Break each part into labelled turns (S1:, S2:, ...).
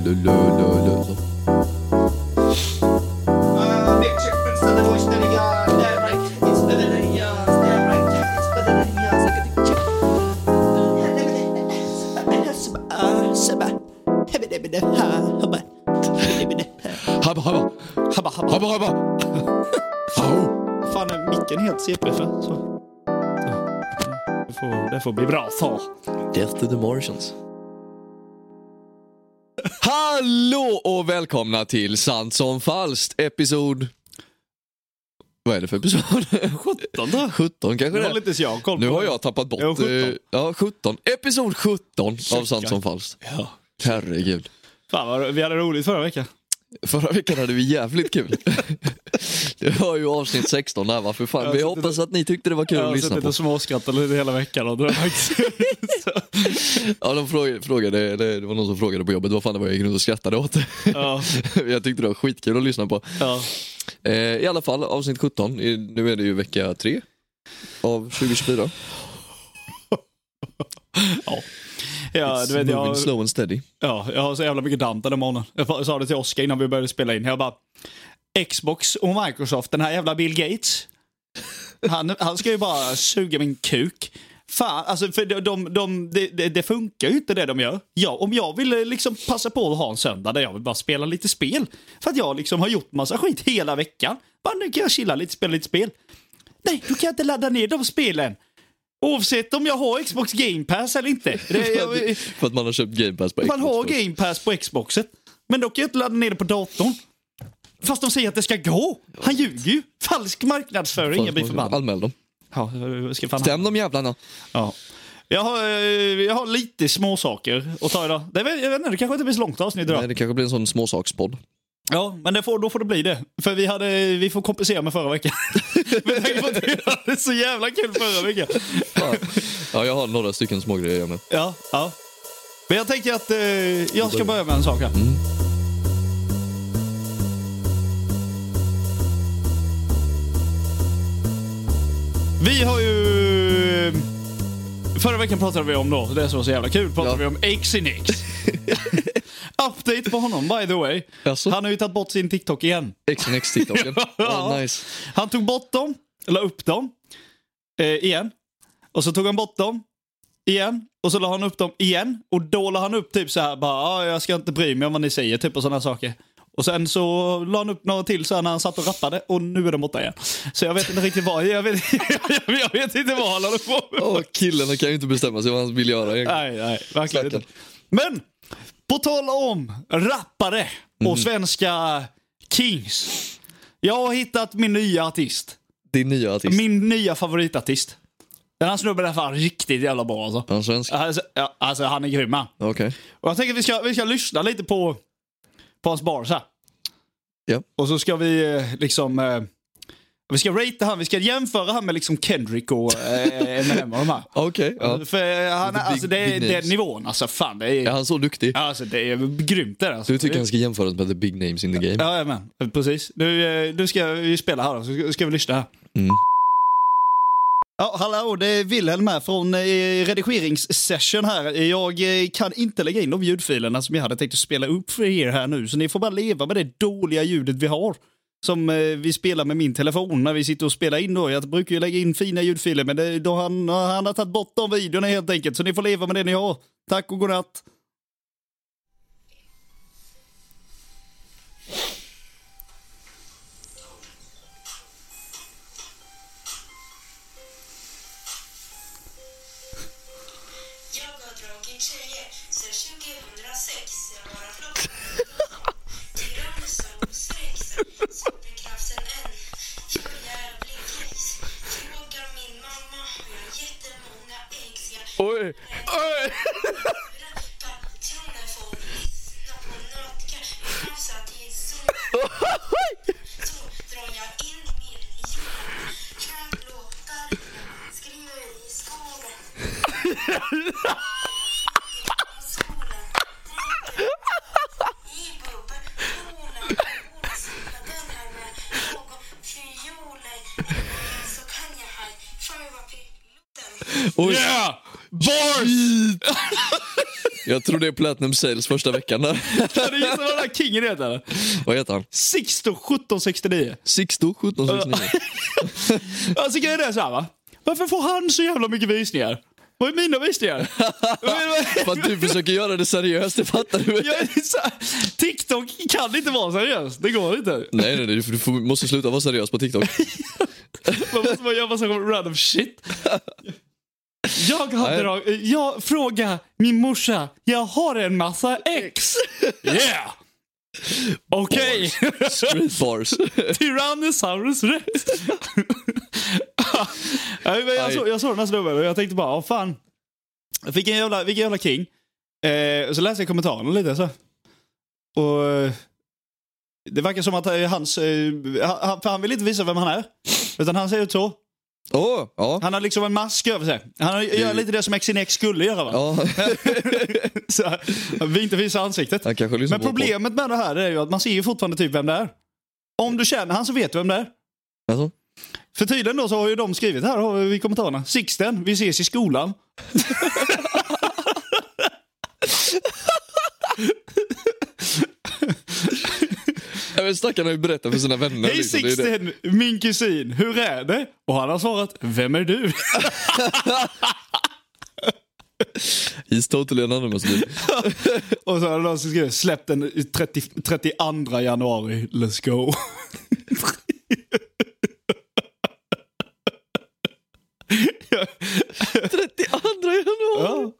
S1: Lulululul. Habba habba,
S2: Habba, habba.
S1: habba habba. Au.
S2: Fan, är micken helt CP för? Så. Så. Det, får, det får bli bra så.
S1: Death to the Martians. Hallå och välkomna till Sant som falskt episod... Vad är det för episod?
S2: 17 då?
S1: 17 kanske
S2: Nu
S1: det
S2: har
S1: är.
S2: inte ens jag koll på
S1: Nu har
S2: det.
S1: jag tappat bort...
S2: Ja, 17.
S1: eh, Ja, 17. Episod 17 av Sant som falskt.
S2: Ja.
S1: Herregud.
S2: Fan, vad, vi hade roligt förra veckan.
S1: Förra veckan hade vi jävligt kul. det var ju avsnitt 16 där va? För
S2: Jag
S1: fan.
S2: har
S1: Vi
S2: suttit
S1: hoppas att ni tyckte det var kul
S2: Jag
S1: att
S2: har
S1: lyssna
S2: suttit
S1: på.
S2: och småskrattat lite hela veckan och drömt Så,
S1: Ja, de frågade, frågade, eller det var någon som frågade på jobbet vad fan det var jag gick runt och skrattade åt.
S2: ja,
S1: jag tyckte det var skitkul att lyssna på.
S2: ja.
S1: Eh, I alla fall avsnitt 17, I- nu är det ju vecka 3 av 2024.
S2: ja, du vet,
S1: It's
S2: jag,
S1: moving slow and steady.
S2: ja, jag har så jävla mycket damp den här morgonen. Jag fa- sa det till Oskar innan vi började spela in. Jag bara, Xbox och Microsoft, den här jävla Bill Gates. Han, han ska ju bara suga min kuk. Fan, alltså för de, de, de, det- det- det funkar ju inte det de gör. Ja, om jag ville liksom passa på att ha en söndag där jag vill bara spela lite spel. För att jag liksom har gjort massa skit hela veckan. Bara nu kan jag chilla lite, spela lite spel. Nej, du kan jag inte ladda ner de spelen. Oavsett om jag har Xbox Game Pass eller inte. Det, jag,
S1: För att man har köpt Game Pass på
S2: man har
S1: Xbox.
S2: Game Pass på Xboxet. Men då kan jag inte ladda ner det på datorn. Fast de säger att det ska gå. Han ljuger ju. Falsk marknadsföring. Jag blir förbannad.
S1: Anmäl dem.
S2: Ja, jag ska fan-
S1: Stäm de jävlarna.
S2: Ja. Jag, har, eh, jag har lite små saker att ta idag. Det, är väl- jag vet inte, det kanske inte blir så långt avsnitt idag.
S1: Nej, det kanske blir en sån småsakspodd.
S2: Ja, men det får, då får det bli det. För vi, hade, vi får kompensera med förra veckan. Med tanke på att vi hade så jävla kul förra veckan.
S1: Fan. ja, jag har några stycken smågrejer jag med.
S2: Ja, ja. Men jag tänker att eh, jag ska börja med en sak här.
S1: Mm.
S2: Vi har ju... Förra veckan pratade vi om då, det som var så jävla kul, pratade
S1: Ja.
S2: vi om Exinix. Update på honom by the way.
S1: Jaså?
S2: Han har ju tagit bort sin TikTok igen.
S1: XNX TikToken.
S2: Ja.
S1: oh, nice.
S2: Han tog bort dem, la upp dem, eh, igen. Och så tog han bort dem, igen. Och så la han upp dem igen. Och då la han upp typ så här bara, ah, jag ska inte bry mig om vad ni säger, typ och sådana saker. Och sen så la han upp några till så här när han satt och rappade och nu är de borta igen. Så jag vet inte riktigt vad, jag vet, jag, jag vet inte vad han håller på med.
S1: Åh, killen kan ju inte bestämma sig vad han vill göra egentligen.
S2: Nej, nej, verkligen
S1: Stackarn.
S2: inte. Men, på tal om rappare och svenska kings. Jag har hittat min nya artist.
S1: Din nya artist.
S2: Min nya favoritartist. Den här snubben är fan riktigt jävla bra alltså.
S1: Är han svensk?
S2: Alltså, ja, alltså han är grym han.
S1: Okej.
S2: Och jag tänker att vi ska, vi ska lyssna lite på, på hans bars här.
S1: Ja.
S2: Och så ska vi eh, liksom... Eh, vi ska rate han, vi ska jämföra han med liksom Kendrick och eh, Eminem och de här.
S1: Okej. ja.
S2: För eh, han,
S1: Big-
S2: alltså, det är
S1: big names.
S2: den nivån alltså. Fan, det är,
S1: Är han så duktig?
S2: alltså, det är grymt det där, alltså.
S1: Du tycker han ska jämföras med the big names in the game?
S2: Ja, men precis. Nu, eh, nu ska vi spela här då, så ska- ska vi lyssna här.
S1: Mm.
S2: Ja, hallå, det är Wilhelm här från eh, redigeringssession här. Jag eh, kan inte lägga in de ljudfilerna som jag hade tänkt att spela upp för er här nu, så ni får bara leva med det dåliga ljudet vi har. Som eh, vi spelar med min telefon när vi sitter och spelar in då. Jag brukar ju lägga in fina ljudfiler, men det, då han, han har tagit bort de videorna helt enkelt, så ni får leva med det ni har. Tack och godnatt.
S3: Jag har dragit tjejer sedan 2006. Jag bara flopp. Tyrann som skräcks. Superkraften en. Jag är jävlig gris. Fråga min mamma. Jag har jättemånga ägg. Jag
S1: Oj! Oj!
S3: rappar till när folk lyssnar på nötkar. Jag nafsar till sol. Så drar jag in min hjärna. Kranglåtar. Skriver i skogen.
S1: Och
S2: Yeah! Bars!
S1: Jag tror det är Platinum Sales första veckan där.
S2: Kan du gissa vad den här kingen heter?
S1: Vad heter han?
S2: Sixto 1769.
S1: Sixto 1769.
S2: Alltså grejen är såhär va. Varför får han så jävla mycket visningar? Vad är mina visningar? Jag menar,
S1: För att du försöker göra det seriöst, det fattar du väl?
S2: jag är så här, TikTok kan inte vara seriöst. Det går inte.
S1: Nej, nej, nej, du får- du får- måste sluta vara seriös på TikTok.
S2: Man måste bara göra massa random shit. Jag hade
S1: Nej.
S2: drag, jag frågar min morsa, jag har en massa ex. Yeah! Okej,
S1: Street bars.
S2: Tyrannosaurus rex. Nej, men jag,
S1: Aj.
S2: såg, jag såg den här snubben och jag tänkte bara, åh fan. Vilken jävla, vilken jävla king. Eh, och så läste jag kommentarerna lite så. Och eh, det verkar som att eh, hans, eh, han- han, för han vill inte visa vem han är. Utan han ser ut så.
S1: Åh, ja.
S2: Han har liksom en mask över sig. Han har- gör lite det som Xenex skulle göra va?
S1: ja.
S2: Så här, han vill inte visa ansiktet.
S1: Han kanske lyssnar
S2: Men
S1: på vår podd.
S2: problemet med det här är ju att man ser ju fortfarande typ vem det är. Om du känner han så vet du vem det är.
S1: Alltså?
S2: För tydligen då så har ju de skrivit här har vi i kommentarerna. Sixten, vi ses i skolan.
S1: Ja, men stackarna har ju berättat för sina vänner.
S2: Hej
S1: liksom. Det är det.
S2: Sixten, min kusin, hur är det? Och han har svarat, vem är du?
S1: He's totally anonymous. dude.
S2: Och så har de också skrivit, släpp den i 30, 32 januari, let's go.
S1: Andra januari.
S2: Ja.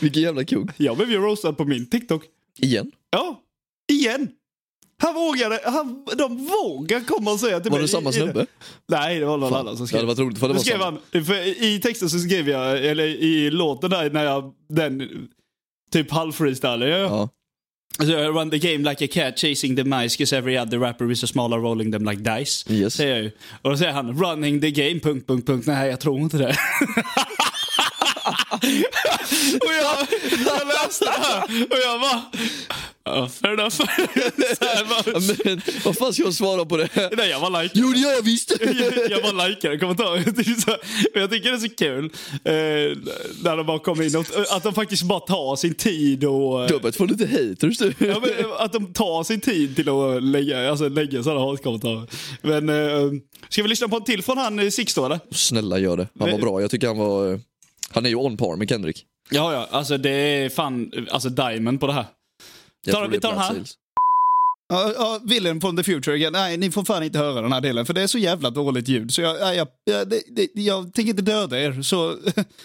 S1: Vilken jävla kung.
S2: Jag blev ju roastad på min TikTok.
S1: Igen.
S2: Ja, igen. Han vågade, han, de vågar komma och säga till
S1: Var
S2: mig.
S1: det samma
S2: i- i-
S1: snubbe?
S2: Nej, det var någon annan som
S1: Det hade
S2: skrev.
S1: varit roligt för det
S2: Då
S1: var
S2: skrev
S1: samma.
S2: han, för I texten så skrev jag, eller i låten där när jag, den, typ halvfreestyle. Ja.
S1: Ja.
S2: Så jag Alltså, run the game like a cat chasing the mice cause every other rapper is a smaller rolling them like dice.
S1: Yes.
S2: Säger jag ju. Och då säger han running the game, punkt, punkt, punkt. Nej, jag tror inte det. och jag, jag läste det här och jag bara... Ja, fair enough. Så här bara-
S1: Men, vad fan ska jag svara på det?
S2: Nej, jag var like.
S1: Jo, det gör jag visst!
S2: jag bara likade kommentarer. Det är så här- Men jag tycker det är så kul eh, när de bara kommer in och, att de faktiskt bara tar sin tid och... eh,
S1: Dubbet får lite haters du.
S2: Ja, men, eh, att de tar sin tid till att lägga, alltså, lägga sådana hatkommentarer. Men eh, ska vi lyssna på en till från han eh, Sixto eller?
S1: Snälla gör det. Han var
S2: Men-
S1: bra. Jag tycker han var... eh, Han är ju on par med Kendrick.
S2: Ja, ja, alltså det är fan, alltså diamond på det här.
S1: Jag
S2: Tar-
S1: tror
S2: vi
S1: det är
S2: tar den
S1: Black
S2: här.
S1: Sails.
S2: Ja, ja, Willen from the future igen. Nej, ni får fan inte höra den här delen för det är så jävla dåligt ljud. Så jag, nej, jag, jag, det, det, jag tänker inte döda er, så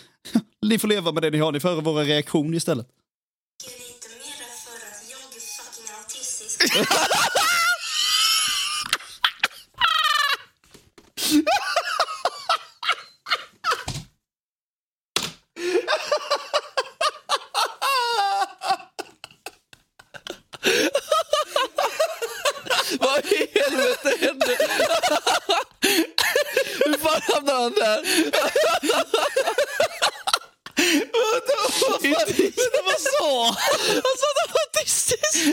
S2: ni får leva med det ni har. Ni får höra våra reaktioner istället.
S3: Tycker lite mera för att jag är fucking autistisk.
S1: Vad i helvete hände? Hur fan hamnade han där?
S2: Vänta, vad sa han?
S1: Han sa att han var autistisk!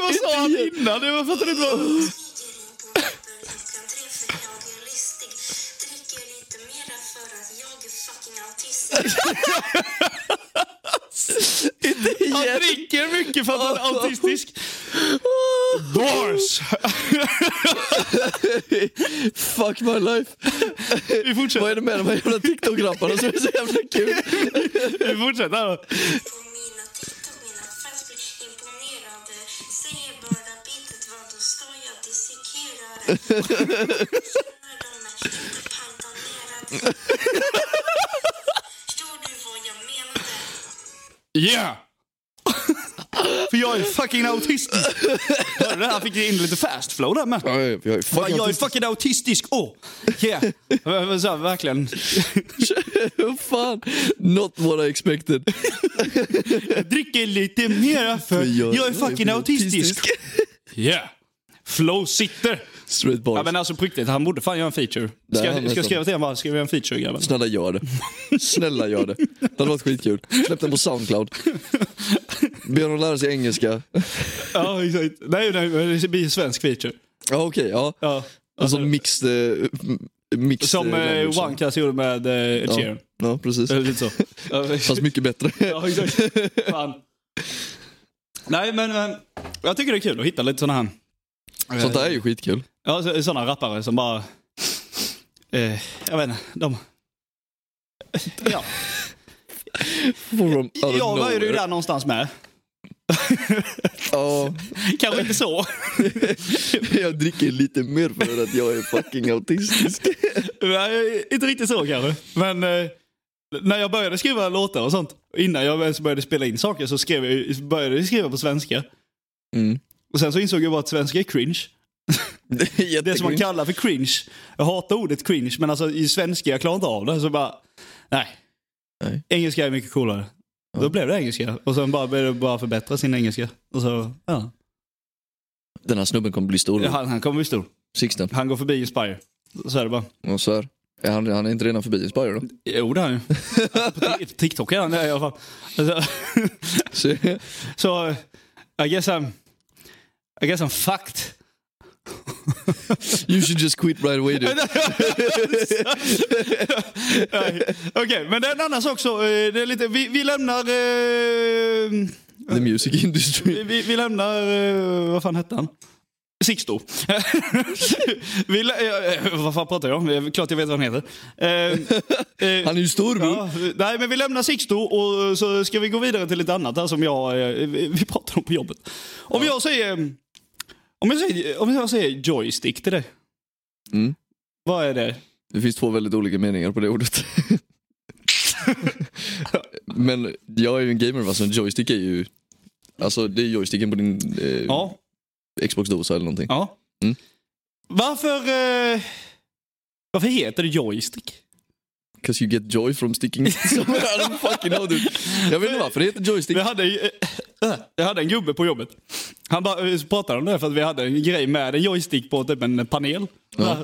S2: Vad sa han innan? Jag fattar inte vad...
S3: Ligger in på papper klockan tre för jag är listig. Dricker lite mera för att jag är fucking autistisk.
S1: Inte
S2: Han
S1: igen!
S2: dricker mycket för att han är autistisk. Bars!
S1: Fuck my life!
S2: Vi
S1: Vad är
S2: fortsätter.
S1: det med de här jävla TikTok-rapparna som är så jävla kul?
S2: Vi fortsätter. då.
S3: På mina TikTok, mina fans blir imponerade. Säger bara bitet vad då står jag dissekerar. Känner de mig inte pantanerad. Förstår du vad jag menade?
S2: Yeah! För jag är fucking autistisk. Hörde du det? Han fick in lite fast flow där med.
S1: Jag är
S2: Fan,
S1: fucking
S2: jag är
S1: autistisk.
S2: fucking autistisk. Åh! Oh. Yeah. Så här, verkligen.
S1: Vad fan? Not what I expected.
S2: Jag dricker lite mera för jag, är fucking autistisk. Yeah. Flow sitter.
S1: Straight bars.
S2: Ja, men alltså på riktigt, han borde fan göra en feature.
S1: Det
S2: Ska,
S1: är han
S2: ska jag
S1: nästan.
S2: skriva till honom bara, ska vi göra en feature grabben?
S1: Snälla gör det. Snälla gör det. Det hade varit skitkul. Släpp den på Soundcloud. Be honom lära sig engelska.
S2: ja, exakt. Nej, nej, men det blir en svensk feature.
S1: Ja okej, ja.
S2: Ja.
S1: Alltså mixed, eh, mixed
S2: Som
S1: eh, language.
S2: eh, OneCast gjorde med eh, Ed
S1: Ja.
S2: Sheeran.
S1: Ja, precis.
S2: Eller lite så.
S1: Fast mycket bättre.
S2: ja, exakt. Fan. Nej, men, men jag tycker det är kul att hitta lite sådana här... eh,
S1: Sånt där är ju skitkul.
S2: Ja, så- såna rappare som bara... Eh, jag vet inte, de... Ja,
S1: From out of
S2: jag var ju
S1: nowhere.
S2: där någonstans med.
S1: eh, Ja,
S2: Kanske inte så.
S1: jag dricker lite mer för att jag är fucking autistisk.
S2: Nej, inte riktigt så kanske. Men eh, när jag började skriva låtar och sånt, innan jag ens började spela in saker så skrev jag, ju- började jag skriva på svenska.
S1: Mm.
S2: Och sen så insåg jag bara att svenska är cringe.
S1: Det är
S2: Det som man
S1: jättegrymt.
S2: kallar för cringe. Jag hatar ordet cringe, men alltså i svenska jag klarar inte av det. Så bara, nej.
S1: Nej.
S2: Engelska är mycket coolare. Då blev det engelska. Och sen bara började jag bara förbättra sin engelska. Och så, ja.
S1: Den här snubben kommer bli stor. Ja.
S2: Han, han kommer bli stor.
S1: Sixten.
S2: Han går förbi Inspire. Så är det bara.
S1: Och så här. Är han, han är inte redan förbi Inspire då?
S2: Jo, det är han ju. På Tik- TikTok är han det i alla fall. Alltså,
S1: Så,
S2: Så, eh, I guess I'm... I guess I'm fucked.
S1: you should just quit right away dude.
S2: Nej, Okej, men det är en annan sak så. eh, Det är lite, vi, vi lämnar... eh,
S1: The music industry.
S2: vi, vi lämnar... eh, vad fan hette han? Sixto. vi, lä- eh, vad fan pratar jag om? Det är Klart jag vet vad han heter. Eh, eh,
S1: Han är ju stor bror.
S2: Ja, nej, men vi lämnar Sixto och eh, så ska vi gå vidare till lite annat här som jag, eh, vi vi pratade om på jobbet. Om jag säger om jag säger, om jag säger joystick till dig.
S1: Mm.
S2: Vad är det?
S1: Det finns två väldigt olika meningar på det ordet. Men jag är ju en gamer va, så en joystick är ju... Alltså det är joysticken på din eh,
S2: Ja.
S1: Xbox-dosa eller någonting.
S2: ja.
S1: Mm.
S2: Varför, eh, varför heter det joystick?
S1: Cause you get joy from sticking somewhere I don't fucking know dude. Jag vet inte varför det heter joystick.
S2: Vi hade, ju- eh, jag hade en gubbe på jobbet. Han bara, eh, så pratade om det för att vi hade en grej med en joystick på typ en panel.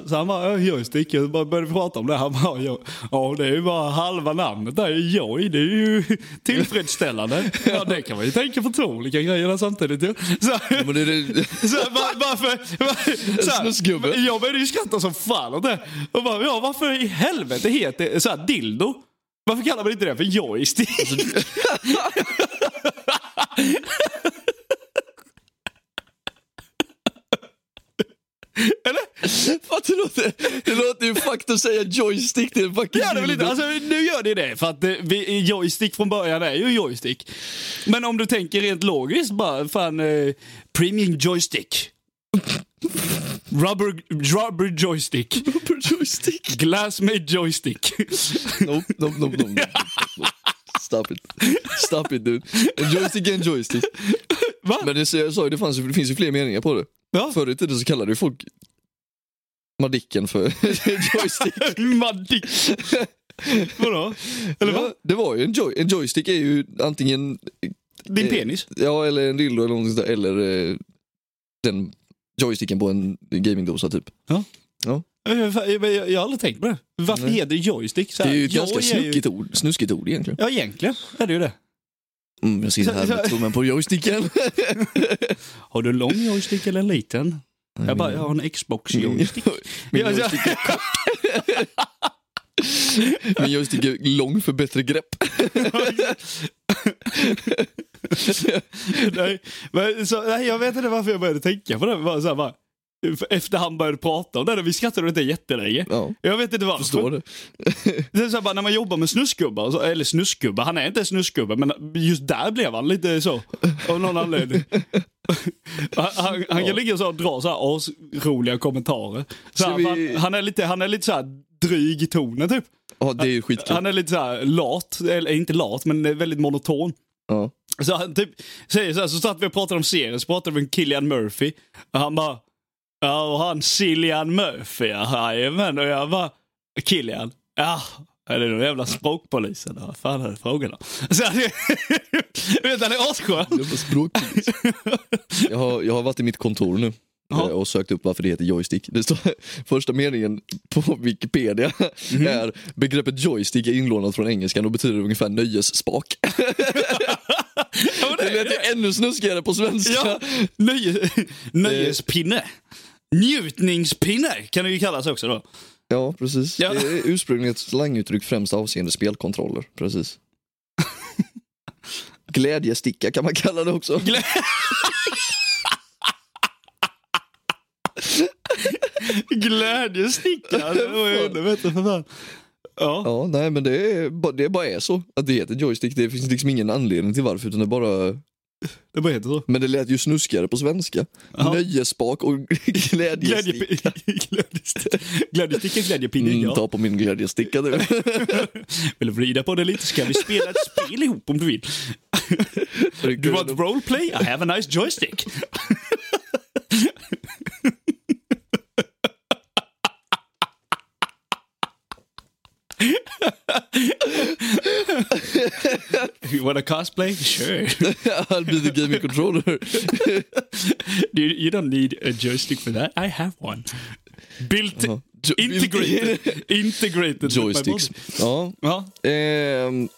S2: Så han bara, eh, joystick. Jag bara började prata om det. Han bara, ja, ja det är ju bara halva namnet där. Joy, det är ju tillfredsställande. Ja, det kan man ju tänka på två olika grejer där samtidigt. ju. Så,
S1: Men det är det...
S2: så här, va- varför... va- så här,
S1: Snuskgubbe.
S2: Jag började ju skratta som fan åt det. Och bara, ja, varför i helvete heter det så här dildo? Varför kallar man inte det för joystick?
S1: Alltså, Fan, det, låter, det låter ju fucked att säga joystick till en fucking
S2: Ja, det är väl inte.
S1: dildo.
S2: Alltså, nu gör det det, för att eh, vi, joystick från början är ju joystick. Men om du tänker rent logiskt bara, fan, eh, premium joystick. Rubber, rubber joystick.
S1: Proper joystick.
S2: Glass made joystick.
S1: Nope, nope, nope, nope, nope, nope. Stop it. Stop it dude. En joystick är en joystick.
S2: Va?
S1: Men det, så jag sa ju, det, fanns, ju- det finns ju fler meningar på det.
S2: Ja.
S1: Förr i tiden så kallade ju folk Madicken för joystick.
S2: Maddick. Vadå? Eller vad?
S1: Ja, det var ju en, joy, en joystick är ju antingen
S2: Din
S1: Eh,
S2: penis?
S1: ja, eller en dildo eller någonting sånt där, eller eh, den joysticken på en gamingdosa typ.
S2: Eh, fan, Jag, jag, jag har aldrig tänkt på det. Varför
S1: Nej.
S2: heter det joystick? Så
S1: Det
S2: här,
S1: är ju ett
S2: joy
S1: ganska
S2: är ju-
S1: snuskigt ord, snuskigt ord egentligen.
S2: Ja, egentligen är det ju det.
S1: Mm, jag sitter här med tummen på joysticken.
S2: Har du en lång joystick eller en liten? Jag bara, jag har en
S1: Min,
S2: Xbox-joystick.
S1: min,
S2: Ja, så-
S1: joystick, är kort. min joystick är lång för bättre grepp.
S2: nej, men, så, nej, jag vet inte varför jag började tänka på det. Bara, så här, bara, efter han började prata om det, vi skrattade åt det jättelänge.
S1: Ja,
S2: Jag vet inte varför.
S1: förstår du?
S2: Det är så här, bara, när man jobbar med snusgubbar, och så- eller snusgubbar, han är inte en snusgubbe, men just där blev han lite så. Av någon anledning. Han, han, han kan ligga så och dra så här asroliga kommentarer. Så
S1: Ska
S2: här,
S1: vi-
S2: han, han är lite, han är lite så här dryg i tonen typ.
S1: Ja, det är ju skitkul.
S2: Han är lite så här lat, eller inte lat, men väldigt monoton.
S1: Ja.
S2: Så han typ säger så här, så satt vi och pratade om serien, så pratade vi om Killian Murphy. Och han bara, ja och han Cillian Murphy, ja, jajamän. Och jag bara, Killian, ja. Är det är den jävla språkpolisen? Vad fan är det frågan om? Så han, vet, han är asskön.
S1: Jävla språkpolis. Jag har, jag har varit i mitt kontor nu
S2: Ja.
S1: eh, och sökt upp varför det heter joystick. Det står, första meningen på Wikipedia
S2: Mhm.
S1: är begreppet joystick är inlånat från engelskan och betyder ungefär nöjesspak.
S2: Ja, men
S1: Det
S2: det-
S1: lät ju ännu snuskigare på svenska.
S2: Ja, nöje, nöjespinne. Njutningspinne kan det ju kallas också då.
S1: Ja, precis.
S2: Ja.
S1: Det är ursprungligen ett slanguttryck främst avseende spelkontroller. Precis. Glädjesticka kan man kalla det också.
S2: Glädjesticka! Det var ju underbart, för fan. Ja.
S1: Ja, nej men det, är, ba- det bara är så. Att det heter joystick. Det finns liksom ingen anledning till varför. Utan det bara...
S2: det bara heter så.
S1: Men det lät ju snuskigare på svenska.
S2: Ja.
S1: Nöjesspak och glädjesticka.
S2: Glädjepi- Glädjesticka, glädjesticka, glädjepinne.
S1: Mm,
S2: Ja.
S1: ta på min glädjesticka nu.
S2: Vill du vrida på det lite så kan vi spela ett spel ihop om du vill. Du want roleplay? I have a nice joystick. you wanna cosplay? Sure.
S1: I'll be the gaming controller.
S2: You, you don't need a joystick for that. I have one. Built,
S1: Ja. Jo-
S2: integrated, integrated with my
S1: Joysticks.
S2: body.
S1: Ja.
S2: Ja.
S1: Ehm,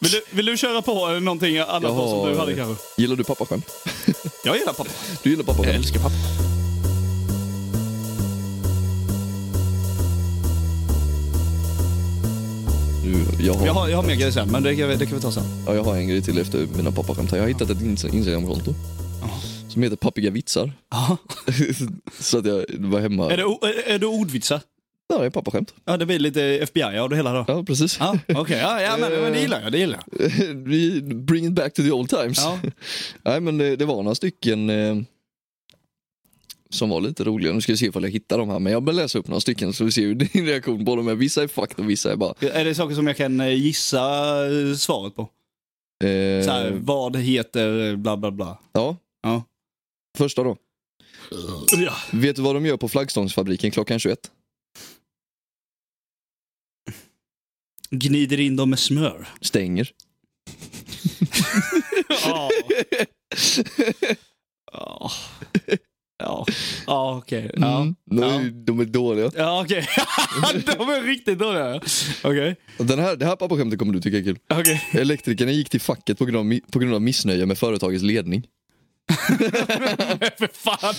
S2: Vill, du, vill du köra på eh, någonting annat
S1: Jaha.
S2: som du hade kanske?
S1: gillar du pappaskämt?
S2: Jag gillar pappa.
S1: Du gillar pappaskämt?
S2: älskar pappa.
S1: Du, jag, har,
S2: Jag har, jag har mer grejer sen, men det kan, vi, det kan vi ta sen.
S1: Ja, jag har en grej till efter mina pappaskämt. här. Jag har hittat ett Insta- Instagramkonto som heter Pappiga vitsar.
S2: Ja.
S1: Så att jag var hemma.
S2: Är det, o- är, är det ordvitsar?
S1: Ja, det är pappaskämt.
S2: Ja, det blir lite FBI av det hela då.
S1: Ja, precis.
S2: Ja, okej. Ja, ja men, men det gillar jag. Det gillar jag.
S1: Vi Bring it back to the old times.
S2: Ja.
S1: Nej, men det, det var några stycken eh, som var lite roliga. Nu ska vi se ifall jag hittar dem här, men jag börjar läsa upp några stycken så vi ser hur din reaktion på dem är. Vissa är fucked och vissa är bara...
S2: Är det saker som jag kan eh, gissa eh, svaret på?
S1: Eh,
S2: Så här, vad heter eh, bla bla bla?
S1: Ja.
S2: Ja.
S1: Första då.
S2: Ja.
S1: Vet du vad de gör på flaggstångsfabriken klockan 21?
S2: Gnider in dem med smör.
S1: Stänger.
S2: Ja. Ja. Ja, ja okej. Ja.
S1: Mm. De, är-
S2: Ja.
S1: de är dåliga.
S2: Ja, okej. De är riktigt dåliga. Okej.
S1: Den här, det här pappaskämtet kommer du tycka är kul.
S2: Okej.
S1: Elektrikerna gick till facket på grund av, mi- på grund av missnöje med företagets ledning.
S2: För fan!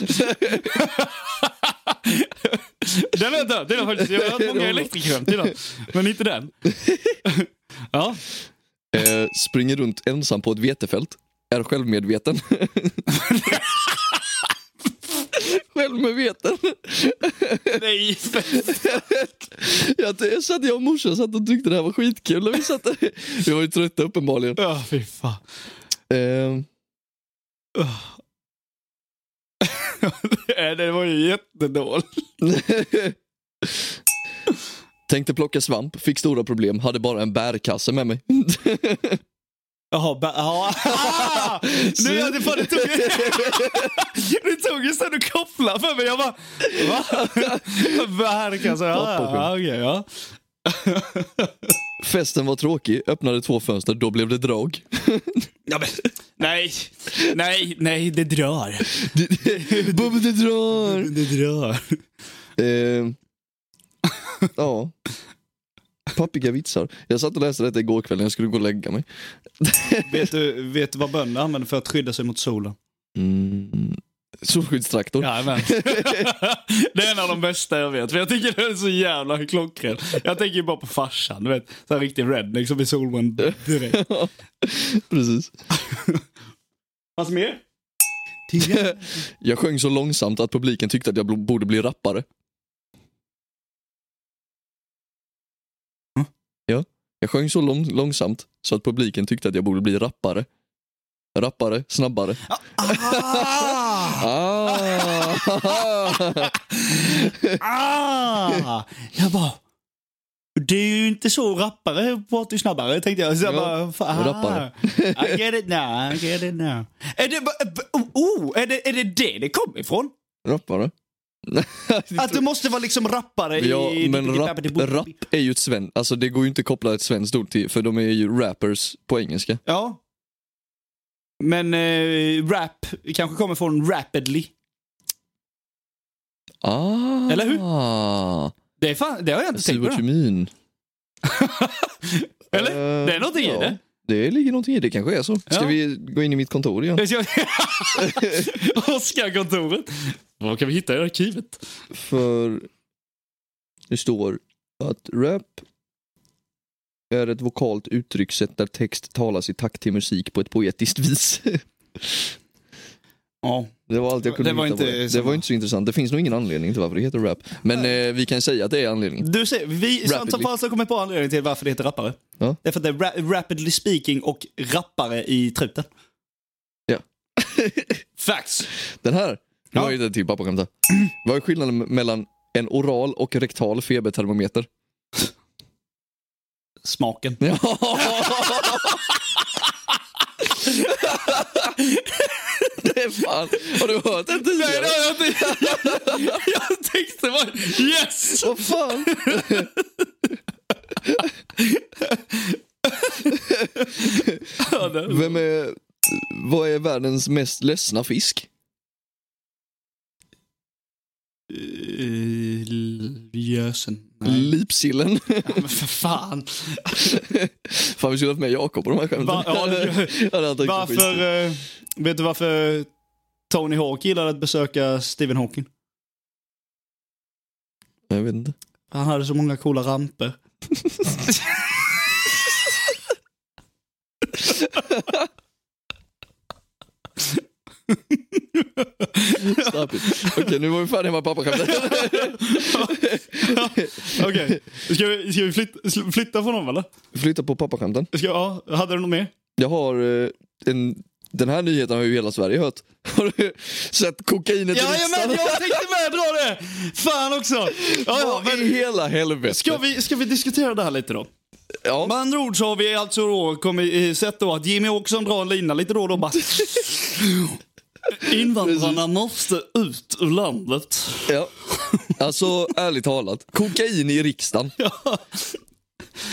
S2: den är död. Den är faktiskt, jag har haft många elektrikerskämt innan, men inte den. Ja,
S1: Eh, springer runt ensam på ett vetefält. Är självmedveten. Självmedveten.
S2: nej. för-
S1: Jag, jag, satt, jag och morsan satt och tyckte det här var skitkul. Och vi, satt, vi var ju trötta uppenbarligen.
S2: Ja, fy fan.
S1: Eh,
S2: Nej, Det var ju jättedåligt.
S1: tänkte plocka svamp, fick stora problem, hade bara en bärkasse med mig.
S2: Jaha, ba- ja. Ah! Nu är det fan det tog... Det tog ju sen att koppla för mig. Jag bara... Va? Verkar så. Ja, ja, okej, ja.
S1: Festen var tråkig, öppnade två fönster, då blev det drag.
S2: ja men, nej, nej, nej, det drar.
S1: Bubbe, det drar!
S2: Det drar.
S1: Eh, ja. Pappiga vitsar. Jag satt och läste detta igår kväll när jag skulle gå och lägga mig.
S2: Vet du, vet du vad bönder använder för att skydda sig mot solen?
S1: Mm. Solskyddstraktor.
S2: Jajamän. det är en av de bästa jag vet. För jag tycker den är så jävla klockren. Jag tänker ju bara på farsan, du vet. Så här riktig redneck som blir solbränd direkt.
S1: Precis.
S2: Vad mer?
S1: Jag sjöng så långsamt att publiken tyckte att jag bl- borde bli rappare. Ja. Jag sjöng så lång- långsamt så att publiken tyckte att jag borde bli rappare. Rappare, snabbare.
S2: Ah!
S1: Ah!
S2: ah! Jag bara... Det är ju inte så rappare pratar ju snabbare tänkte jag. Så jag
S1: Ja,
S2: bara, fan,
S1: rappare.
S2: I get it now, I get it now. Är det, ba- ba- oh, oh, är det, är det det det kommer ifrån?
S1: rappare?
S2: Att det måste vara liksom rappare
S1: Ja,
S2: i...
S1: men rap, rap är ju ett sven, alltså det går ju inte att koppla ett svenskt ord till, för de är ju rappers på engelska.
S2: Ja. Men eh, rap kanske kommer från rapidly.
S1: Ah,
S2: Eller hur? Det, är fan, det har jag inte
S1: See
S2: tänkt på.
S1: what you
S2: det.
S1: mean.
S2: Eller?
S1: Eh,
S2: det är någonting i
S1: ja,
S2: det.
S1: Det ligger någonting i det, kanske är så. Ska
S2: Ja.
S1: vi gå in i mitt kontor igen?
S2: Jag ska- Oscar-kontoret. Vad kan vi hitta i arkivet?
S1: För Det står att rap är ett vokalt uttryckssätt där text talas i takt till musik på ett poetiskt vis.
S2: Ja.
S1: Det var allt jag kunde
S2: Det var
S1: hitta på
S2: inte
S1: det. det
S2: samma.
S1: var inte så intressant. Det finns nog ingen anledning till varför det heter rap. Men eh, vi kan säga att det är anledningen.
S2: Du ser, vi
S1: Rapidly.
S2: Svensson Fals har kommit på anledningen till varför det heter rappare.
S1: Ja.
S2: Det är för att det är ra- rapidly speaking och rappare i truten.
S1: Ja.
S2: Facts.
S1: Den här, det typ
S2: Ja.
S1: var ju den till pappa skämtade. Vad är skillnaden mellan en oral och rektal febertermometer?
S2: Smaken.
S1: det är fan. Har du hört den tidigare?
S2: Nej, det har jag inte. Jag tänkte bara yes!
S1: Vad fan? Vem är... Vad är världens mest ledsna fisk?
S2: Gösen.
S1: Lipsillen.
S2: Men för fan.
S1: fan, vi skulle haft med Jakob på de här skämten.
S2: Va- ja,
S1: Ja,
S2: det-
S1: det hade han tyckt var skit.
S2: Varför, eh, vet du varför Tony Hawk gillade att besöka Stephen Hawking?
S1: Jag vet inte.
S2: Han hade så många coola ramper.
S1: Stop it. Okej, nu var vi färdiga med pappaskämten.
S2: Okej, ska vi, ska vi flytta, sl- flytta från dem eller?
S1: Flytta på pappaskämten.
S2: Ska, ja, hade du något mer?
S1: Jag har eh, en... Den här nyheten har ju hela Sverige hört. Har du sett kokainet i riksdagen?
S2: Jajamän, jag tänkte med dra det! Fan också! Ja, ja,
S1: Vad i
S2: men,
S1: hela helvete?
S2: ska, vi, ska vi diskutera det här lite då?
S1: Ja.
S2: Med andra ord så har vi alltså då kommit, eh, sett då att Jimmy Åkesson drar en lina lite då och då bara... Invandrarna måste ut ur landet.
S1: Ja. Alltså, ärligt talat. Kokain i riksdagen.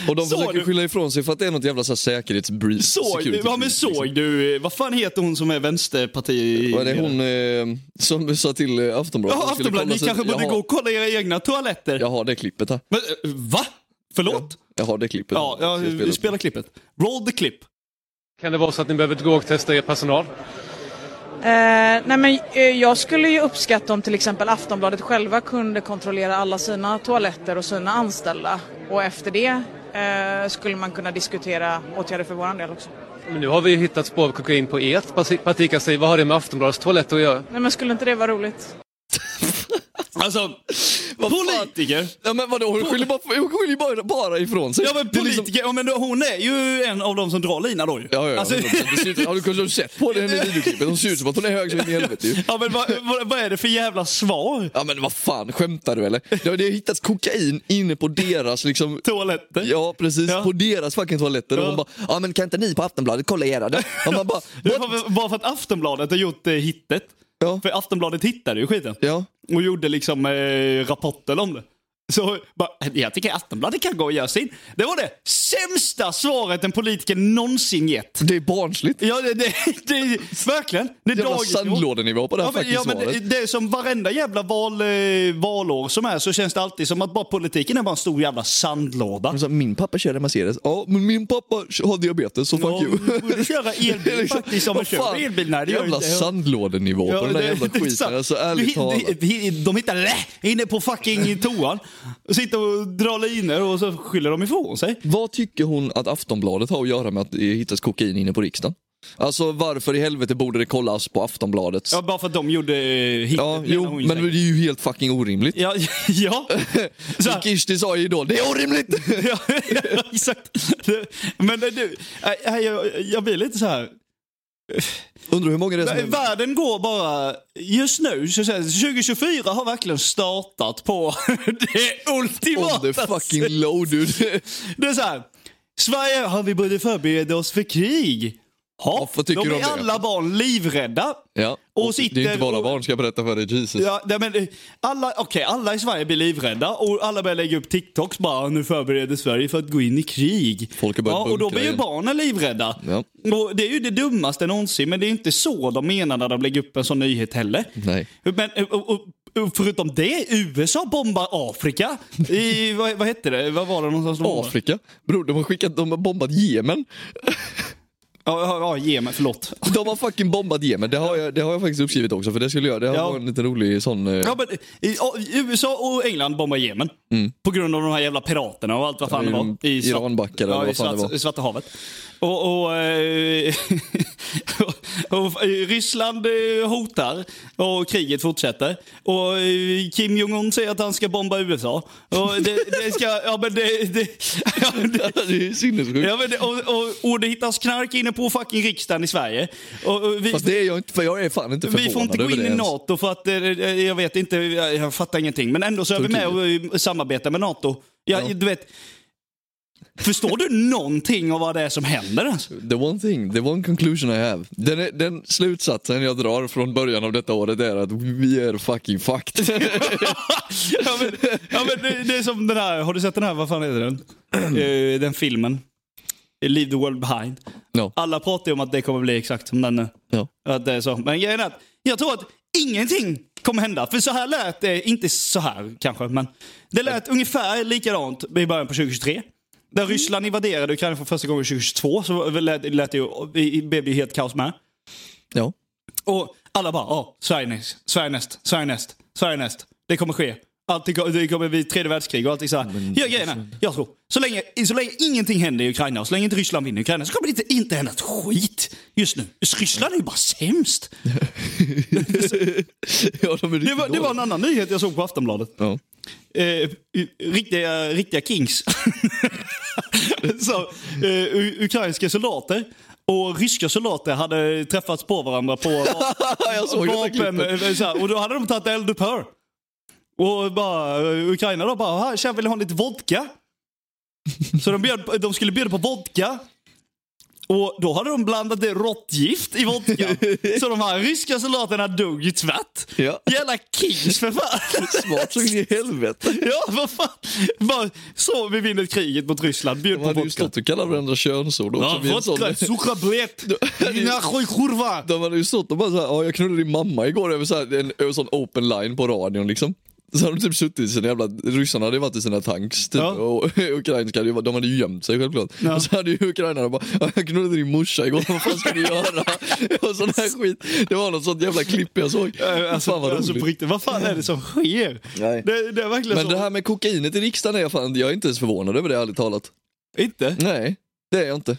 S1: Och de
S2: Såg
S1: försöker
S2: du-
S1: skylla ifrån sig för att det är något jävla så här säkerhetsbrief.
S2: Såg du,
S1: security
S2: ja, men
S1: brief, liksom.
S2: såg du, eh, vad fan heter hon som är vänsterparti?
S1: Var det hon eh, som sa till eh, Aftonbladet?
S2: Ja,
S1: Hon skulle
S2: Aftonbladet,
S1: kolla
S2: ni
S1: så-
S2: kanske
S1: jag
S2: borde
S1: har-
S2: gå och kolla era egna toaletter.
S1: Jag har det klippet här.
S2: Men, eh, va? Förlåt?
S1: Jag har det klippet.
S2: Ja,
S1: här.
S2: ja,
S1: Ska jag
S2: vi
S1: spela upp?
S2: spelar klippet. Roll the clip.
S4: Kan det vara så att ni behöver gå och testa er personal?
S5: Eh, nej men, eh, jag skulle ju uppskatta om till exempel Aftonbladet själva kunde kontrollera alla sina toaletter och sina anställda. Och efter det eh, skulle man kunna diskutera åtgärder för vår del också.
S4: Men nu har vi ju hittat spår av kokain på ert parti- partikansli. Vad har det med Aftonbladets toalett att göra?
S5: Nej men skulle inte det vara roligt?
S2: Alltså, politiker.
S1: Ja, men vadå, hon skyller bara, hon skyller bara, bara ifrån sig.
S2: Ja men
S1: Det är liksom-
S2: politiker, ja, men då- hon är ju en av de som drar lina då ju.
S1: Ja, ja,
S2: Alltså-
S1: alltså... Har du kanske sett på henne i videoklippet? Hon ser ut som att hon är hög som in i helvete ju.
S2: Ja, men vad, vad, vad är det för jävla svar?
S1: Ja men vad fan, skämtar du eller? Det har det har hittats kokain inne på deras liksom...
S2: Toaletter?
S1: Ja precis,
S2: Ja.
S1: på deras fucking toaletter. Och
S2: Ja.
S1: hon bara, ja men kan inte ni på Aftonbladet kolla era då? Ja, man bara,
S2: Det
S1: "What?"
S2: var väl- Bara för att Aftonbladet har gjort eh, hittet.
S1: Ja.
S2: För Aftonbladet hittade ju skiten.
S1: ja.
S2: Och gjorde liksom eh, rapporter om det. Så bara, jag tycker Aftonbladet kan gå och göra sin. Det var det sämsta svaret en politiker någonsin gett.
S1: Det är barnsligt.
S2: Ja, det, det, det verkligen. Det är
S1: Jävla
S2: dagisnivå.
S1: sandlådenivå på det här
S2: Ja, men,
S1: fucking
S2: ja, men det,
S1: svaret.
S2: det är som varenda jävla val, eh, valår som är så känns det alltid som att bara politiken är bara en stor jävla sandlåda.
S1: Hon sa, Min pappa körde Mercedes. Ja, men min pappa har diabetes så fuck
S2: Ja,
S1: you.
S2: du borde köra elbil
S1: Det är
S2: faktiskt, om man
S1: vad
S2: kör
S1: fan,
S2: elbil. Nej, det gör
S1: Jävla
S2: inte jag.
S1: sandlådenivå på den där
S2: det-
S1: jävla
S2: det är
S1: skiten.
S2: sant.
S1: Alltså
S2: Du
S1: ärligt
S2: hit-
S1: talat.
S2: du hit- De hittar det inne på fucking toan. Sitter och drar linor och så skyller de ifrån sig.
S1: Vad tycker hon att Aftonbladet har att göra med att det hittas kokain inne på riksdagen? Alltså varför i helvete borde det kollas på Aftonbladets?
S2: Ja,
S1: Ja,
S2: bara för att de gjorde eh, hittet. menar
S1: jo,
S2: hon
S1: men
S2: ju
S1: det
S2: säkert.
S1: är ju helt fucking orimligt.
S2: Ja, ja. Så här-
S1: Kishti sa ju då, det är orimligt!
S2: ja, ja, exakt. Men eh, du, eh, jag, jag blir lite så här.
S1: Undrar hur många det är
S2: Nej,
S1: som är...
S2: Världen går bara, just nu, så att säga, 2024 har verkligen startat på det
S1: On "Oh, the
S2: ultimata.
S1: fucking low dude.
S2: Det är så här, Sverige, har vi borde förbereda oss för krig. Ja,
S1: Ja, vad tycker
S2: de
S1: du
S2: är
S1: om det?
S2: alla barn livrädda.
S1: ja.
S2: Och
S1: det är
S2: sitter
S1: inte bara
S2: och-
S1: barn ska jag berätta för dig, Jesus.
S2: Ja, nej, men eh, alla, okej, alla i Sverige blir livrädda och alla börjar lägga upp TikToks bara nu förbereder Sverige för att gå in i krig.
S1: Folk har börjat
S2: ja, och då
S1: bunkra
S2: blir ju
S1: igen.
S2: barnen livrädda.
S1: Ja.
S2: Och det är ju det dummaste någonsin, men det är ju inte så de menar när de lägger upp en sån nyhet heller.
S1: Nej.
S2: Men eh, och, och, och, förutom det, USA bombar Afrika. I, vad, vad hette det? Vad var det någonstans? de bombade?
S1: Afrika? Bror, de har skickat, de har bombat Jemen.
S2: Ja, ja, ja, ge mig, förlåt.
S1: De har fucking bombat Jemen, det har jag, det har jag faktiskt uppskrivit också för det skulle jag, det här
S2: Ja.
S1: var en liten rolig sån... eh,
S2: Ja, men, i, ja, i USA och England bombar Jemen. På grund av de här jävla piraterna och allt vad fan
S1: Mm. Ja,
S2: det
S1: i
S2: var. I Svart-
S1: Iranbackar eller
S2: ja, i
S1: vad fan det
S2: Svart-
S1: var.
S2: I Svarta havet. Och, och, eh, och, eh, Ryssland eh, hotar och kriget fortsätter. Och eh, Kim Jong-Un säger att han ska bomba USA. Och det, det ska... Ja, men det... det, ja, men det
S1: det är ju sinnessjukt.
S2: Ja, men det, och, och, och det hittas knark inne på fucking riksdagen i Sverige. Och, och vi,
S1: Fast det är jag inte, för jag är fan inte förvånad
S2: vi får inte gå
S1: över
S2: in
S1: det
S2: i
S1: ens.
S2: NATO för att, eh, eh, jag vet inte, jag jag fattar ingenting. Men ändå så är vi med och eh, samarbetar med NATO. Ja,
S1: Ja.
S2: Du vet, förstår du någonting av vad det är som händer? alltså? ens?
S1: The one thing, the one conclusion I have. Den, är- den slutsatsen jag drar från början av detta året är att vi är fucking fucked.
S2: ja, men, ja, men det, det är som den här, har du sett den här, vad fan heter den? Eh, den filmen. Leave the world behind.
S1: Ja.
S2: Alla pratar ju om att det kommer bli exakt som den nu.
S1: Ja.
S2: Att det är så. Men grejen är att jag tror att ingenting kommer hända. För så här lät det, inte så här kanske, men det lät ungefär likadant i början på 2023. Där Ryssland invaderade Ukraina för första gången 2022 så lät, lät det ju, blev det ju helt kaos med.
S1: ja.
S2: Och alla bara, ja, Sverige näst, Sverige näst, Sverige näst, Sverige näst. Det kommer ske. Allting, ko- det kommer bli tredje världskrig och allting så här. ja, grejen är, jag tror, så länge, så länge ingenting händer i Ukraina och så länge inte Ryssland vinner Ukraina så kommer det inte, inte hända ett skit just nu. Ryssland är ju bara sämst.
S1: ja de är
S2: Det var, det var en annan nyhet jag såg på Aftonbladet.
S1: ja.
S2: Eh, riktiga, riktiga kings. så, eh, u- ukrainska soldater och ryska soldater hade träffats på varandra på
S1: Jag såg det där
S2: vapen.
S1: klippet.
S2: eh, Så här, och då hade de tagit eldupphör. Och bara, eh, Ukraina då bara, "Här, tja vill ni ha lite vodka? Så de, bjöd, de skulle bjuda på vodka. Och då hade de blandat det råttgift i vodkan. Så de här ryska soldaterna dog ju tvärt.
S1: Ja.
S2: Jävla kings för fan.
S1: Smart så in i helvete.
S2: Ja, vad fan. Bara, så vi vinner kriget mot Ryssland. Bjud
S1: De
S2: på
S1: hade ju
S2: vodka.
S1: stått och kallat varandra könsord också.
S2: Ja,
S1: vid en sån-
S2: vodka, sukra blät, dina sjujkurva.
S1: De hade ju stått och bara såhär, ja jag knullade din mamma igår över så här, en över sån open line på radion liksom. Så hade de typ suttit i sina jävla, ryssarna hade varit i sina tanks typ,
S2: Ja.
S1: och ukrainska hade ju, de hade ju gömt sig självklart.
S2: Ja.
S1: Och så hade ju ukrainarna bara, ja, jag knullade din morsa igår, vad fan ska du göra? och sån här skit. Det var något sånt jävla klipp jag såg.
S2: Alltså,
S1: fan vad roligt.
S2: alltså, på riktigt, vad fan är det som sker?
S1: Nej.
S2: Det, det är verkligen
S1: Men
S2: så.
S1: det här med kokainet i riksdagen är jag fan, jag är inte ens förvånad över det ärligt talat.
S2: Inte?
S1: Nej, det är jag inte.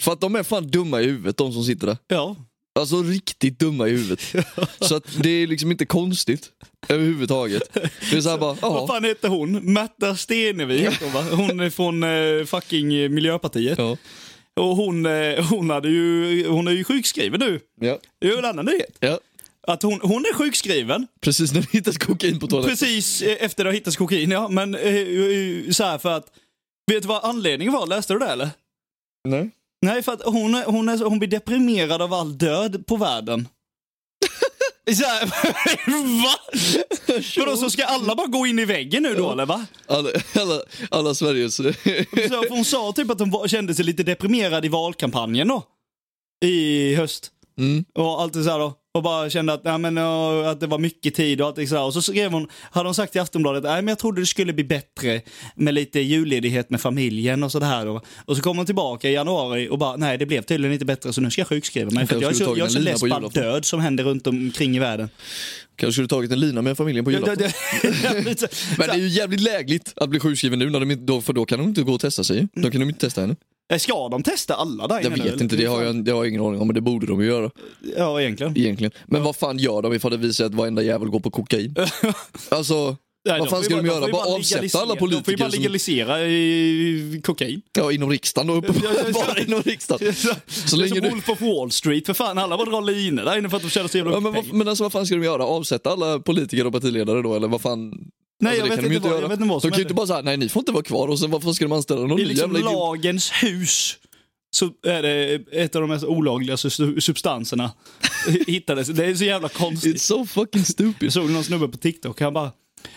S1: För att de är fan dumma i huvudet de som sitter där.
S2: Ja.
S1: Alltså riktigt dumma i huvudet. Så att det är liksom inte konstigt överhuvudtaget. Det är såhär bara,
S2: Vad
S1: ja.
S2: fan heter hon? Märta Stenevi heter hon va? Hon är från eh, fucking eh, Miljöpartiet.
S1: Ja.
S2: Och hon, eh, hon, hade ju, hon är ju sjukskriven nu.
S1: Ja.
S2: Det är ju en annan nyhet.
S1: ja.
S2: Att hon, hon är sjukskriven.
S1: Precis när det hittas kokain på toaletten.
S2: Precis eh, efter det har hittats kokain, ja. Men eh, eh, så här för att... Vet du vad anledningen var? Läste du det eller?
S1: Nej.
S2: Nej, för att hon, är- hon, är, så- hon blir deprimerad av all död på världen. Så här, va? Vadå, så ska alla bara gå in i väggen nu då eller va?
S1: Alla, alla, alla Sveriges...
S2: Så, för hon sa typ att hon var, kände sig lite deprimerad i valkampanjen då. I höst.
S1: Mm.
S2: Och allt det så här då. Och bara kände att, nej, men, ja, att det var mycket tid och allt det så här. Och så skrev hon, hade hon sagt till Aftonbladet, nej men jag trodde det skulle bli bättre med lite julledighet med familjen och sådär. Och, och så kom hon tillbaka i januari och bara, nej det blev tydligen inte bättre så nu ska jag sjukskriva mig. För att
S1: Jag
S2: jag
S1: skulle
S2: är så, jag är
S1: tagit
S2: så
S1: en lina
S2: less
S1: på
S2: på all
S1: julafton."
S2: död som händer runt omkring i världen.
S1: Kanske skulle tagit en lina med familjen på julafton. Men det är ju jävligt lägligt att bli sjukskriven nu, när de, inte- då, för då kan de inte gå och testa sig Då kan de inte testa henne.
S2: Ska de testa alla där
S1: Jag
S2: inne nu,
S1: vet
S2: eller?
S1: inte, det har jag, det har jag ingen aning om, men det borde de ju göra
S2: Ja, egentligen.
S1: egentligen. Men vad fan gör de ifall det visar sig att varenda jävel går på kokain? Alltså,
S2: Nej,
S1: vad
S2: de
S1: fan
S2: får
S1: ska
S2: ju
S1: de
S2: bara-
S1: göra?
S2: får ju
S1: Bara avsätta
S2: legalisera-
S1: alla
S2: De får ju bara
S1: politiker som
S2: legalisera i kokain.
S1: Ja, inom riksdagen då. uppenbarligen. Bara inom riksdagen. Så
S2: det är
S1: länge
S2: som
S1: du...
S2: Wolf of Wall Street, för fan. Alla bara drar linor där inne för att de tjänar så jävla
S1: Ja,
S2: mycket
S1: men, vad,
S2: pengar.
S1: men alltså vad fan ska de göra? Avsätta alla politiker och partiledare då eller vad fan?
S2: Nej,
S1: alltså,
S2: jag vet
S1: de ju
S2: inte vad- jag vet inte vad
S1: De kan ju
S2: som händer.
S1: inte bara säga nej ni får inte vara kvar och sen varför ska de anställa någon
S2: I
S1: ny
S2: liksom
S1: jävla idiot?
S2: lagens hus så är det ett av de mest olagliga sus- substanserna hittades. Det är så jävla
S1: It's
S2: konstigt.
S1: so fucking stupid.
S2: Jag såg någon snubbe på TikTok, han bara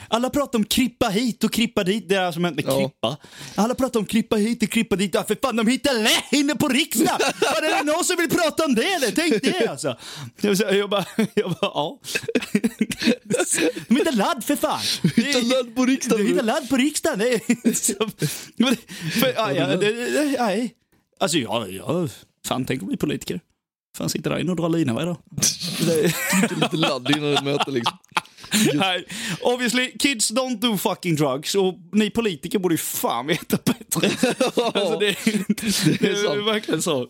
S2: alla pratar om krippa hit och krippa dit, det är som hänt med
S1: Ja.
S2: krippa. Alla pratar om krippa hit och krippa dit, ja, för fan de hittar lä inne på riksdagen! Var det någon som vill prata om det eller? Tänk det alltså! Jag bara, jag bara, jag bara ja. De hittar ladd för fan!
S1: Utan land på
S2: Du hittar
S1: riksdagen.
S2: ladd på riksdagen. Det är liksom- Men det- för- aj, aj, det- det- aj. Alltså jag, jag, Fan, tänk att bli politiker. Fan, sitter där inne och drar lina varje dag. Det-
S1: Lite ladd innan ett möte liksom.
S2: Nej, obviously, kids don't do fucking drugs. Och ni politiker borde ju fan veta bättre. Alltså, det, det,
S1: Det är
S2: är
S1: sant.
S2: verkligen så. Eh,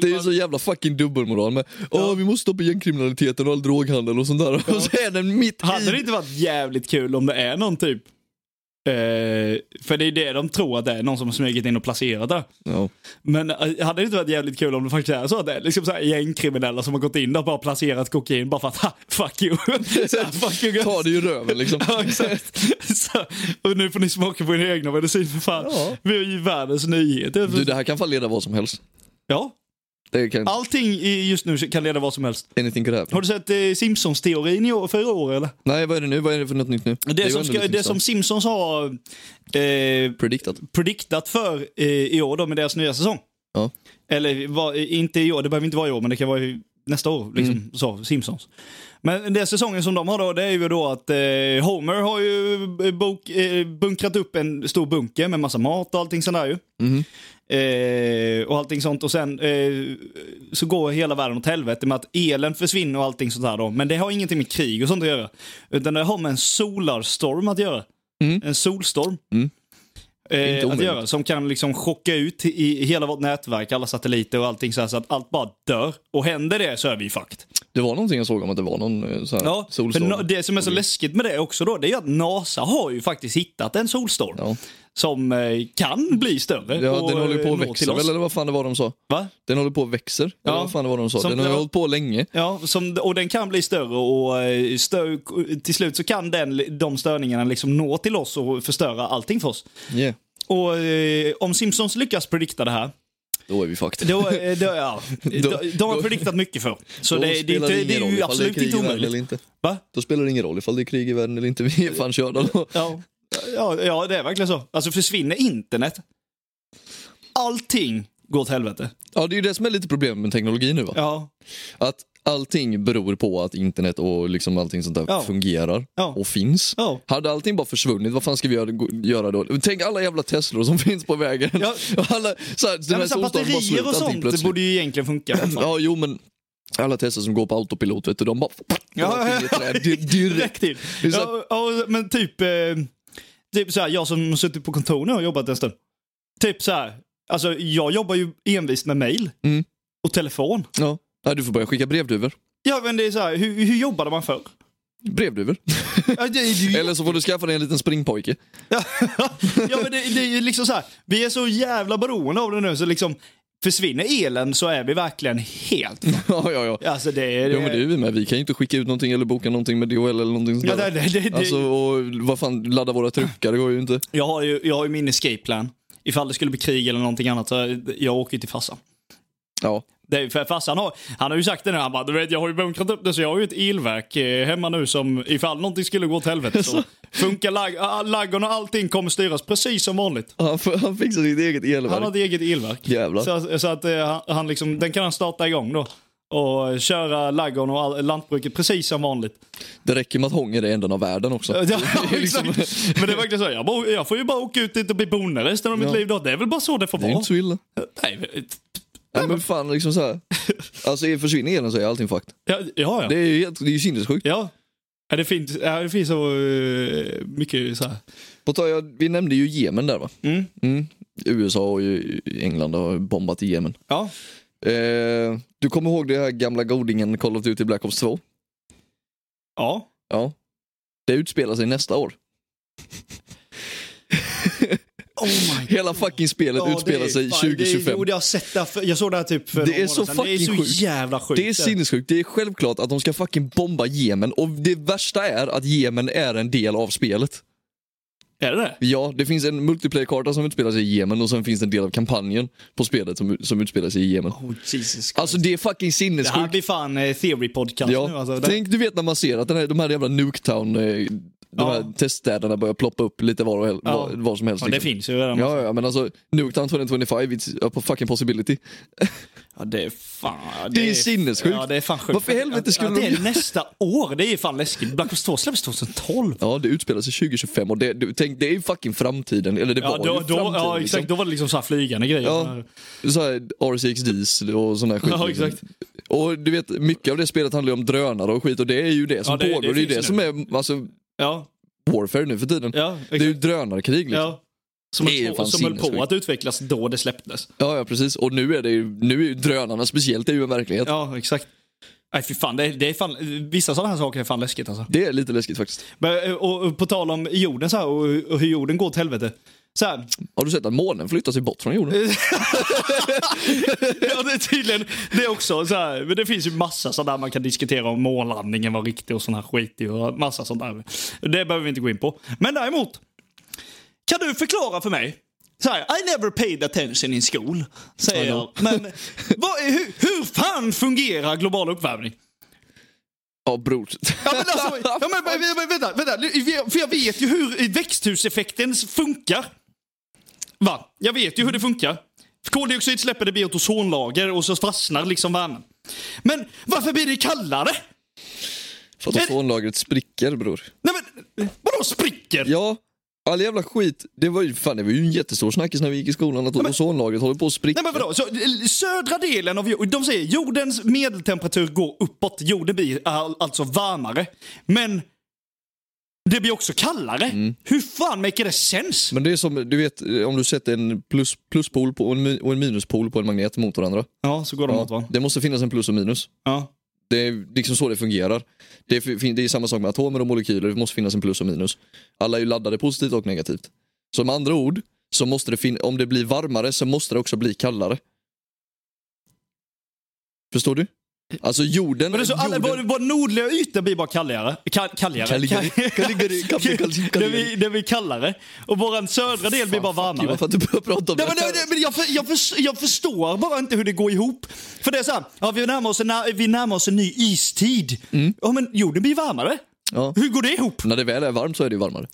S1: Det är så jävla fucking dubbelmoral med Åh, vi måste stoppa gängkriminaliteten och all droghandel och sånt där. Och så är den mitt
S2: Hade det
S1: i.
S2: inte varit jävligt kul om det är någon typ... Eh, för det är det de tror att det är, någon som har smugit in och placerat det.
S1: Ja.
S2: Men eh, hade det inte varit jävligt kul om det faktiskt är så att det är liksom så här gängkriminella som har gått in där och bara placerat kokain bara för att ha, fuck you. så här, fuck you
S1: Ta
S2: guys.
S1: det i röven liksom.
S2: Ja, exakt. Så, och nu får ni smaka på era egna medicin för fan.
S1: Ja.
S2: Vi är ju världens nyheter.
S1: Du, det här kan fan leda vad som helst.
S2: Ja,
S1: Det kan,
S2: allting i- just nu kan leda vad som helst.
S1: anything could happen.
S2: Har du sett eh, Simpsons-teorin i år, fyra år eller?
S1: Nej, vad är det nu? Vad är det för något nytt nu?
S2: Det,
S1: är ju
S2: som,
S1: ändå
S2: ska,
S1: lite
S2: det som
S1: intressant.
S2: Simpsons har eh,
S1: Predictat.
S2: prediktat för eh, i år då med deras nya säsong.
S1: Ja.
S2: Eller var, inte i år, det behöver inte vara i år, men det kan vara i, nästa år. Liksom,
S1: Mm.
S2: så, Simpsons. Men den där säsongen som de har då, det är ju då att eh, Homer har ju bok, eh, bunkrat upp en stor bunker med massa mat och allting sånt där ju.
S1: Mhm.
S2: Eh, och allting sånt. Och sen eh, så går hela världen åt helvete med att elen försvinner och allting sånt där då. Men det har ingenting med krig och sånt att göra. Utan det har med en solarstorm att göra. En solstorm.
S1: Mm. Inte
S2: Eh, att
S1: omöjligt.
S2: göra, som kan liksom chocka ut i hela vårt nätverk, alla satelliter och allting så, här, så att allt bara dör. Och händer det så är vi fucked.
S1: Det var någonting jag såg om att det var någon eh, så här
S2: Ja, för
S1: solstorm. Mm.
S2: no- det som är så läskigt med det också då, det är ju att NASA har ju faktiskt hittat en solstorm
S1: Ja.
S2: som eh, kan bli större.
S1: Ja, den
S2: och,
S1: håller
S2: eh,
S1: på att
S2: nå till
S1: växa
S2: oss.
S1: väl, eller vad fan det var de sa?
S2: Va?
S1: Den håller på att växer,
S2: Ja.
S1: eller vad fan det var de sa?
S2: Som-
S1: den har
S2: ja.
S1: ju hållit på länge.
S2: Ja, som, och den kan bli större och eh, stö, till slut så kan den, de störningarna liksom nå till oss och förstöra allting för oss.
S1: Yeah.
S2: Och eh, om Simpsons lyckas predikta det här,
S1: Då är vi fucked.
S2: då, eh, då, ja, de, de har prediktat mycket för. Så
S1: Då
S2: det, det, är
S1: spelar
S2: inte, det är
S1: ingen roll
S2: ju
S1: ifall
S2: absolut
S1: krig i
S2: inte
S1: världen
S2: omöjligt.
S1: Eller inte.
S2: Va?
S1: Då spelar det ingen roll ifall det är krig i världen eller inte. Vi är fan körda då.
S2: Ja. Ja, ja, det är verkligen så. Alltså försvinner internet, allting går åt helvete.
S1: Ja, det är ju det som är lite problemet med teknologi nu va?
S2: Ja,
S1: Att allting beror på att internet och liksom allting sånt där
S2: Ja.
S1: fungerar
S2: Ja.
S1: och finns.
S2: Ja.
S1: Hade allting bara försvunnit, vad fan ska vi göra, gå- göra då? Tänk alla jävla Teslor som finns på vägen.
S2: Ja.
S1: Och alla, så här, den
S2: ja
S1: här
S2: men så
S1: solstormen bara
S2: här, batterier
S1: slutar
S2: och
S1: allting
S2: sånt
S1: plötsligt.
S2: borde ju egentligen funka. för fan.
S1: Ja, jo men alla Teslor som går på autopilot vet du, de bara...
S2: Ja, ja, ja.
S1: Di- direkt.
S2: direkt in.
S1: Det är så-
S2: Ja, ja, men typ, eh, typ så här, jag som har suttit på kontor nu och jobbat en stund. Typ så här, alltså jag jobbar ju envist med mail
S1: Mm.
S2: och telefon.
S1: Ja. Ja, du får börja skicka brevduvor.
S2: Ja men det är så här, hur, hur jobbade man förr?
S1: Brevduvor.
S2: Ja, det, är ju-
S1: Eller så får du skaffa dig en liten springpojke.
S2: ja men det, det är ju liksom så här, vi är så jävla beroende av det nu så liksom försvinner elen så är vi verkligen helt...
S1: Ja, ja, ja.
S2: Alltså det är...
S1: Jo men det är vi med, vi kan ju inte skicka ut någonting eller boka någonting med DHL eller någonting sånt
S2: Ja,
S1: där.
S2: det- det- det- det-
S1: Alltså, och vad fan, ladda våra truckar, det går ju inte.
S2: Jag har ju, jag har ju min escape plan. Ifall det skulle bli krig eller någonting annat så jag åker ju till farsan.
S1: Ja.
S2: Det är ju för farsan har, han har ju sagt det nu, han bara, du vet jag har ju bunkrat upp det så jag har ju ett elverk eh, hemma nu som ifall någonting skulle gå åt helvete så funkar lag, ah, laggen och allting kommer styras precis som vanligt.
S1: Han, f- han fixar sitt eget
S2: Han har
S1: elverk.
S2: ett eget elverk.
S1: Jävlar.
S2: Så, så att eh, han- han liksom, den kan han starta igång då. Och köra laggen och all, lantbruket precis som vanligt.
S1: Det räcker med att Hånger är änden av världen också.
S2: Ja,
S1: är liksom-
S2: exakt. Men det är verkligen så, jag, bara, jag får ju bara åka ut dit och bli bonde resten av mitt
S1: Ja.
S2: liv då. Det är väl bara så det får
S1: Det är ju
S2: vara.
S1: inte så illa.
S2: Nej,
S1: Nej, men fan liksom så här. Alltså försvinner elen så är allting fucked.
S2: ja, ja. ja.
S1: Det är ju, helt- det är ju sinnessjukt.
S2: Ja. Ja, det, finns, ja, det finns så eh, mycket så här.
S1: På tal- ja, vi nämnde ju Jemen där va?
S2: Mm.
S1: USA och ju- England har bombat i Jemen.
S2: Ja.
S1: Eh, du kommer ihåg det här gamla godingen Call of Duty Black Ops 2?
S2: Ja.
S1: Ja. Det utspelar sig nästa år.
S2: Oh my
S1: Hela fucking spelet utspelar sig 2025.
S2: jag, har sett det här för, jag såg det här typ
S1: Det
S2: för några
S1: är
S2: månader
S1: så
S2: sedan. Det är
S1: fucking
S2: så
S1: sjukt.
S2: jävla sjukt.
S1: Det är sinnessjukt. Det är självklart att de ska fucking bomba Jemen och det värsta är att Jemen är en del av spelet.
S2: Är det det?
S1: Ja, det finns en multiplayer-karta som utspelar sig i Jemen och sen finns det en del av kampanjen på spelet som, som utspelar sig i Jemen.
S2: Oh Jesus Christ.
S1: Alltså det är fucking
S2: det här
S1: sinnessjukt.
S2: blir fan eh, theory podcast nu
S1: Ja.
S2: alltså. Det,
S1: Tänk, du vet när man ser att den här, de här jävla Nuketown eh, de här
S2: Ja.
S1: teststäderna börjar ploppa upp lite var, och hel,
S2: Ja.
S1: var, var som helst.
S2: Ja, det
S1: liksom.
S2: finns ju redan.
S1: Ja, ja, men alltså Nuketown 2025, it's a fucking possibility.
S2: Ja, det är fan...
S1: Det är sinnessjukt.
S2: Ja, det är fan sjukt.
S1: Varför i helvete skulle
S2: ja, Det
S1: de-
S2: är nästa år. Det är ju fan läskigt. Black Ops 2 släpps 2012.
S1: Ja, det utspelar sig 2025 och det, du, tänk, det är ju fucking framtiden. Eller det
S2: Ja,
S1: var
S2: då,
S1: ju
S2: då,
S1: framtiden.
S2: ja, exakt.
S1: liksom.
S2: Då var det liksom så här flygande grejer.
S1: Ja. Så här, RCXDs och sån här skit.
S2: Ja,
S1: liksom.
S2: exakt.
S1: Och du vet, mycket av det spelet handlar ju om drönare och skit och det är ju det som
S2: Ja, det- det
S1: pågår. Det är ju
S2: finns
S1: det som
S2: ju
S1: är alltså,
S2: Ja,
S1: warfare nu för tiden.
S2: ja,
S1: det är ju
S2: exakt.
S1: drönarkrig liksom.
S2: Ja. Som,
S1: Det är ju
S2: höll på,
S1: fan
S2: som höll på
S1: sinnessjukt.
S2: att utvecklas då det släpptes.
S1: Ja, ja precis. Och nu är det ju, nu är ju drönarna speciellt, det är ju en verklighet.
S2: Ja, exakt. Nej, fy fan, det, är- det är fan. Vissa sådana här saker är fan läskigt alltså.
S1: Det är lite läskigt faktiskt.
S2: Men, eh, och, och på tal om jorden så här, och, och hur jorden går till helvete. Så här,
S1: Har du sett att månen flyttar sig bort från
S2: Eh.
S1: jorden?
S2: ja, det är tydligen det är också. Så här, men det finns ju massa sådana där man kan diskutera om månlandningen var riktig och sån här skit. i Och massa sånt där. Det behöver vi inte gå in på. Men däremot, kan du förklara för mig? Så här, I never paid attention in school, säger
S1: I
S2: jag.
S1: know.
S2: Men vad är, hur, hur fan fungerar global uppvärmning?
S1: Ja, bror.
S2: Ja, men alltså, ja, men, men, men, vänta, vänta, för jag vet ju hur växthuseffekten funkar. Va? Jag vet ju hur det funkar. Koldioxid släpper det blir ett ozonlager och så fastnar liksom värmen. Men varför blir det kallare?
S1: För att
S2: Eh.
S1: ozonlagret spricker bror.
S2: Nej men, vadå spricker?
S1: Ja, all jävla skit. Det var ju, fan, det var ju en jättestor snackis när vi gick i skolan att ozonlagret håller på att spricka.
S2: Nej men vadå, så, södra delen av jorden, de säger jordens medeltemperatur går uppåt, jorden blir all, alltså varmare. Men det blir också kallare. Hur fan make det sens?
S1: Men det är som, du vet eh, om du sätter en plus, pluspol på, och, en, mi- och en minuspol på en magnet mot varandra.
S2: Ja, så går de åt
S1: Ja,
S2: varandra.
S1: det måste finnas en plus och minus.
S2: Ja.
S1: Det är liksom så det fungerar. Det är, fin- det är samma sak med atomer och molekyler, det måste finnas en plus och minus. Alla är ju laddade positivt och negativt. Så med andra ord, så måste det fin- om det blir varmare så måste det också bli kallare. Förstår du? Alltså jorden...
S2: Men det är så alla, vår,
S1: jorden...
S2: vår nordliga yta blir bara kalligare. Ka, kalligare.
S1: Kalligare.
S2: Ka-
S1: Kalligare. Kalligare. Kalligare.
S2: Det blir- Det blir kallare. Och vår södra del blir bara varmare.
S1: Varför att du börjar prata om det
S2: Nej, men, nej,
S1: här?
S2: nej, men jag, för, jag, för, jag förstår bara inte hur det går ihop. För det är så här, ja, vi, närmar oss en, na- vi närmar oss en ny istid. Ja, men jorden blir varmare.
S1: Mm. Ja.
S2: Hur går det ihop?
S1: När det väl är varmt så är det ju varmare.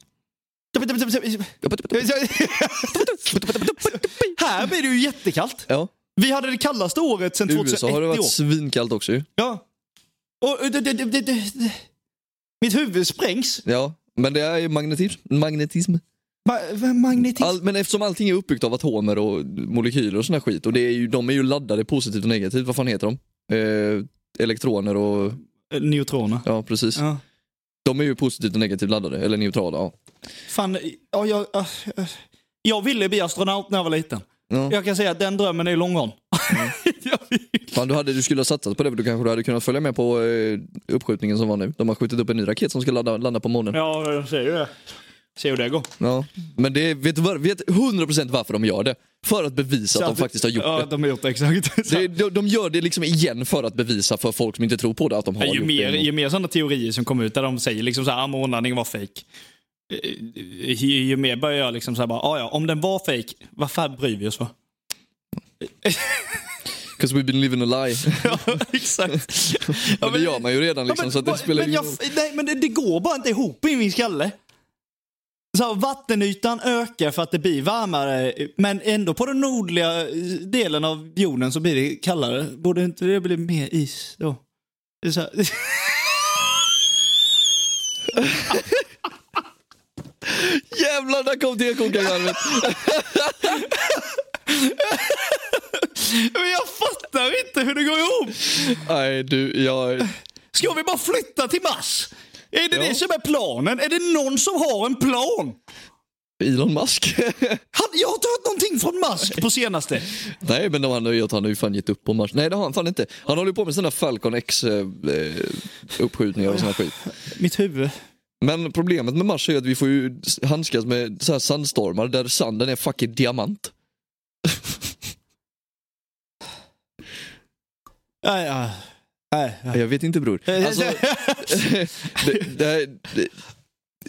S2: Här blir det ju jättekallt.
S1: Ja.
S2: Vi hade det kallaste året sedan
S1: I USA
S2: 2001
S1: har det
S2: i år.
S1: varit svinkallt också ju.
S2: Ja. Och, det, det, det, det, det. Mitt huvud sprängs.
S1: Ja, men det är ju magnetism. magnetism.
S2: Ma- magnetism.
S1: All, men eftersom allting är uppbyggt av atomer och molekyler och sån här skit och det är ju, de är ju laddade positivt och negativt, vad fan heter de? Eh, elektroner och,
S2: Eh, Neutroner.
S1: ja precis.
S2: Ja.
S1: De är ju positivt och negativt laddade, eller neutrala. Ja.
S2: Fan, ja, jag, äh, äh. jag ville bli astronaut när jag var liten.
S1: Ja.
S2: Jag kan säga att den drömmen är långgången. Mm. Jag vill-
S1: Fan, du, hade, du skulle ha satsat på det, för du kanske du hade kunnat följa med på eh, uppskjutningen som var nu. De har skjutit upp en ny raket som ska ladda, landa på månen.
S2: ja, jag ser ju det. Ser hur det går.
S1: Ja. Men det, vet du var, vet 100% varför de gör det? För att bevisa
S2: Så
S1: att de faktiskt har gjort
S2: ja,
S1: det.
S2: de har gjort det exakt. Så
S1: Det, de, de gör det liksom igen för att bevisa för folk som inte tror på det att de har
S2: att- ju,
S1: gjort
S2: mer,
S1: det.
S2: ju mer sådana teorier som kommer ut där de säger liksom så här, "Ah, månlandningen var fejk. Eh, Ju, ju mer börjar jag liksom så här bara, "Ah, ja, om den var fejk, vad fan bryr vi oss för?
S1: Because we've been living a lie.
S2: ja, exakt. Ja,
S1: men det gör man ju redan liksom, så att det
S2: vad-
S1: spelar
S2: men
S1: ingen
S2: jag,
S1: roll.
S2: Nej, men det, det går bara inte ihop i min skalle. Så här, vattenytan ökar för att det blir varmare, men ändå på den nordliga eh, delen av jorden så blir det kallare. Borde inte det bli mer is då? Det är så här.
S1: Jävlar, där kom tekokarvet!
S2: Men jag fattar inte hur det går ihop!
S1: Nej du, jag...
S2: Ska vi bara flytta till Mars? Är det
S1: Ja.
S2: det som är planen? Är det någon som har en plan?
S1: Elon Musk?
S2: Han, jag har inte hört någonting från Musk på senaste.
S1: Nej men de han har ju han har ju fan gett upp på Mars. Nej det har han fan inte. Han håller ju på med sina Falcon X eh, eh, uppskjutningar och såna skit.
S2: Mitt huvud.
S1: Men problemet med Mars är ju att vi får ju handskas med så här sandstormar där sanden är fucking diamant.
S2: Nej, ja. Nej, ja.
S1: Jag vet inte bror. Alltså, det, det, här- det,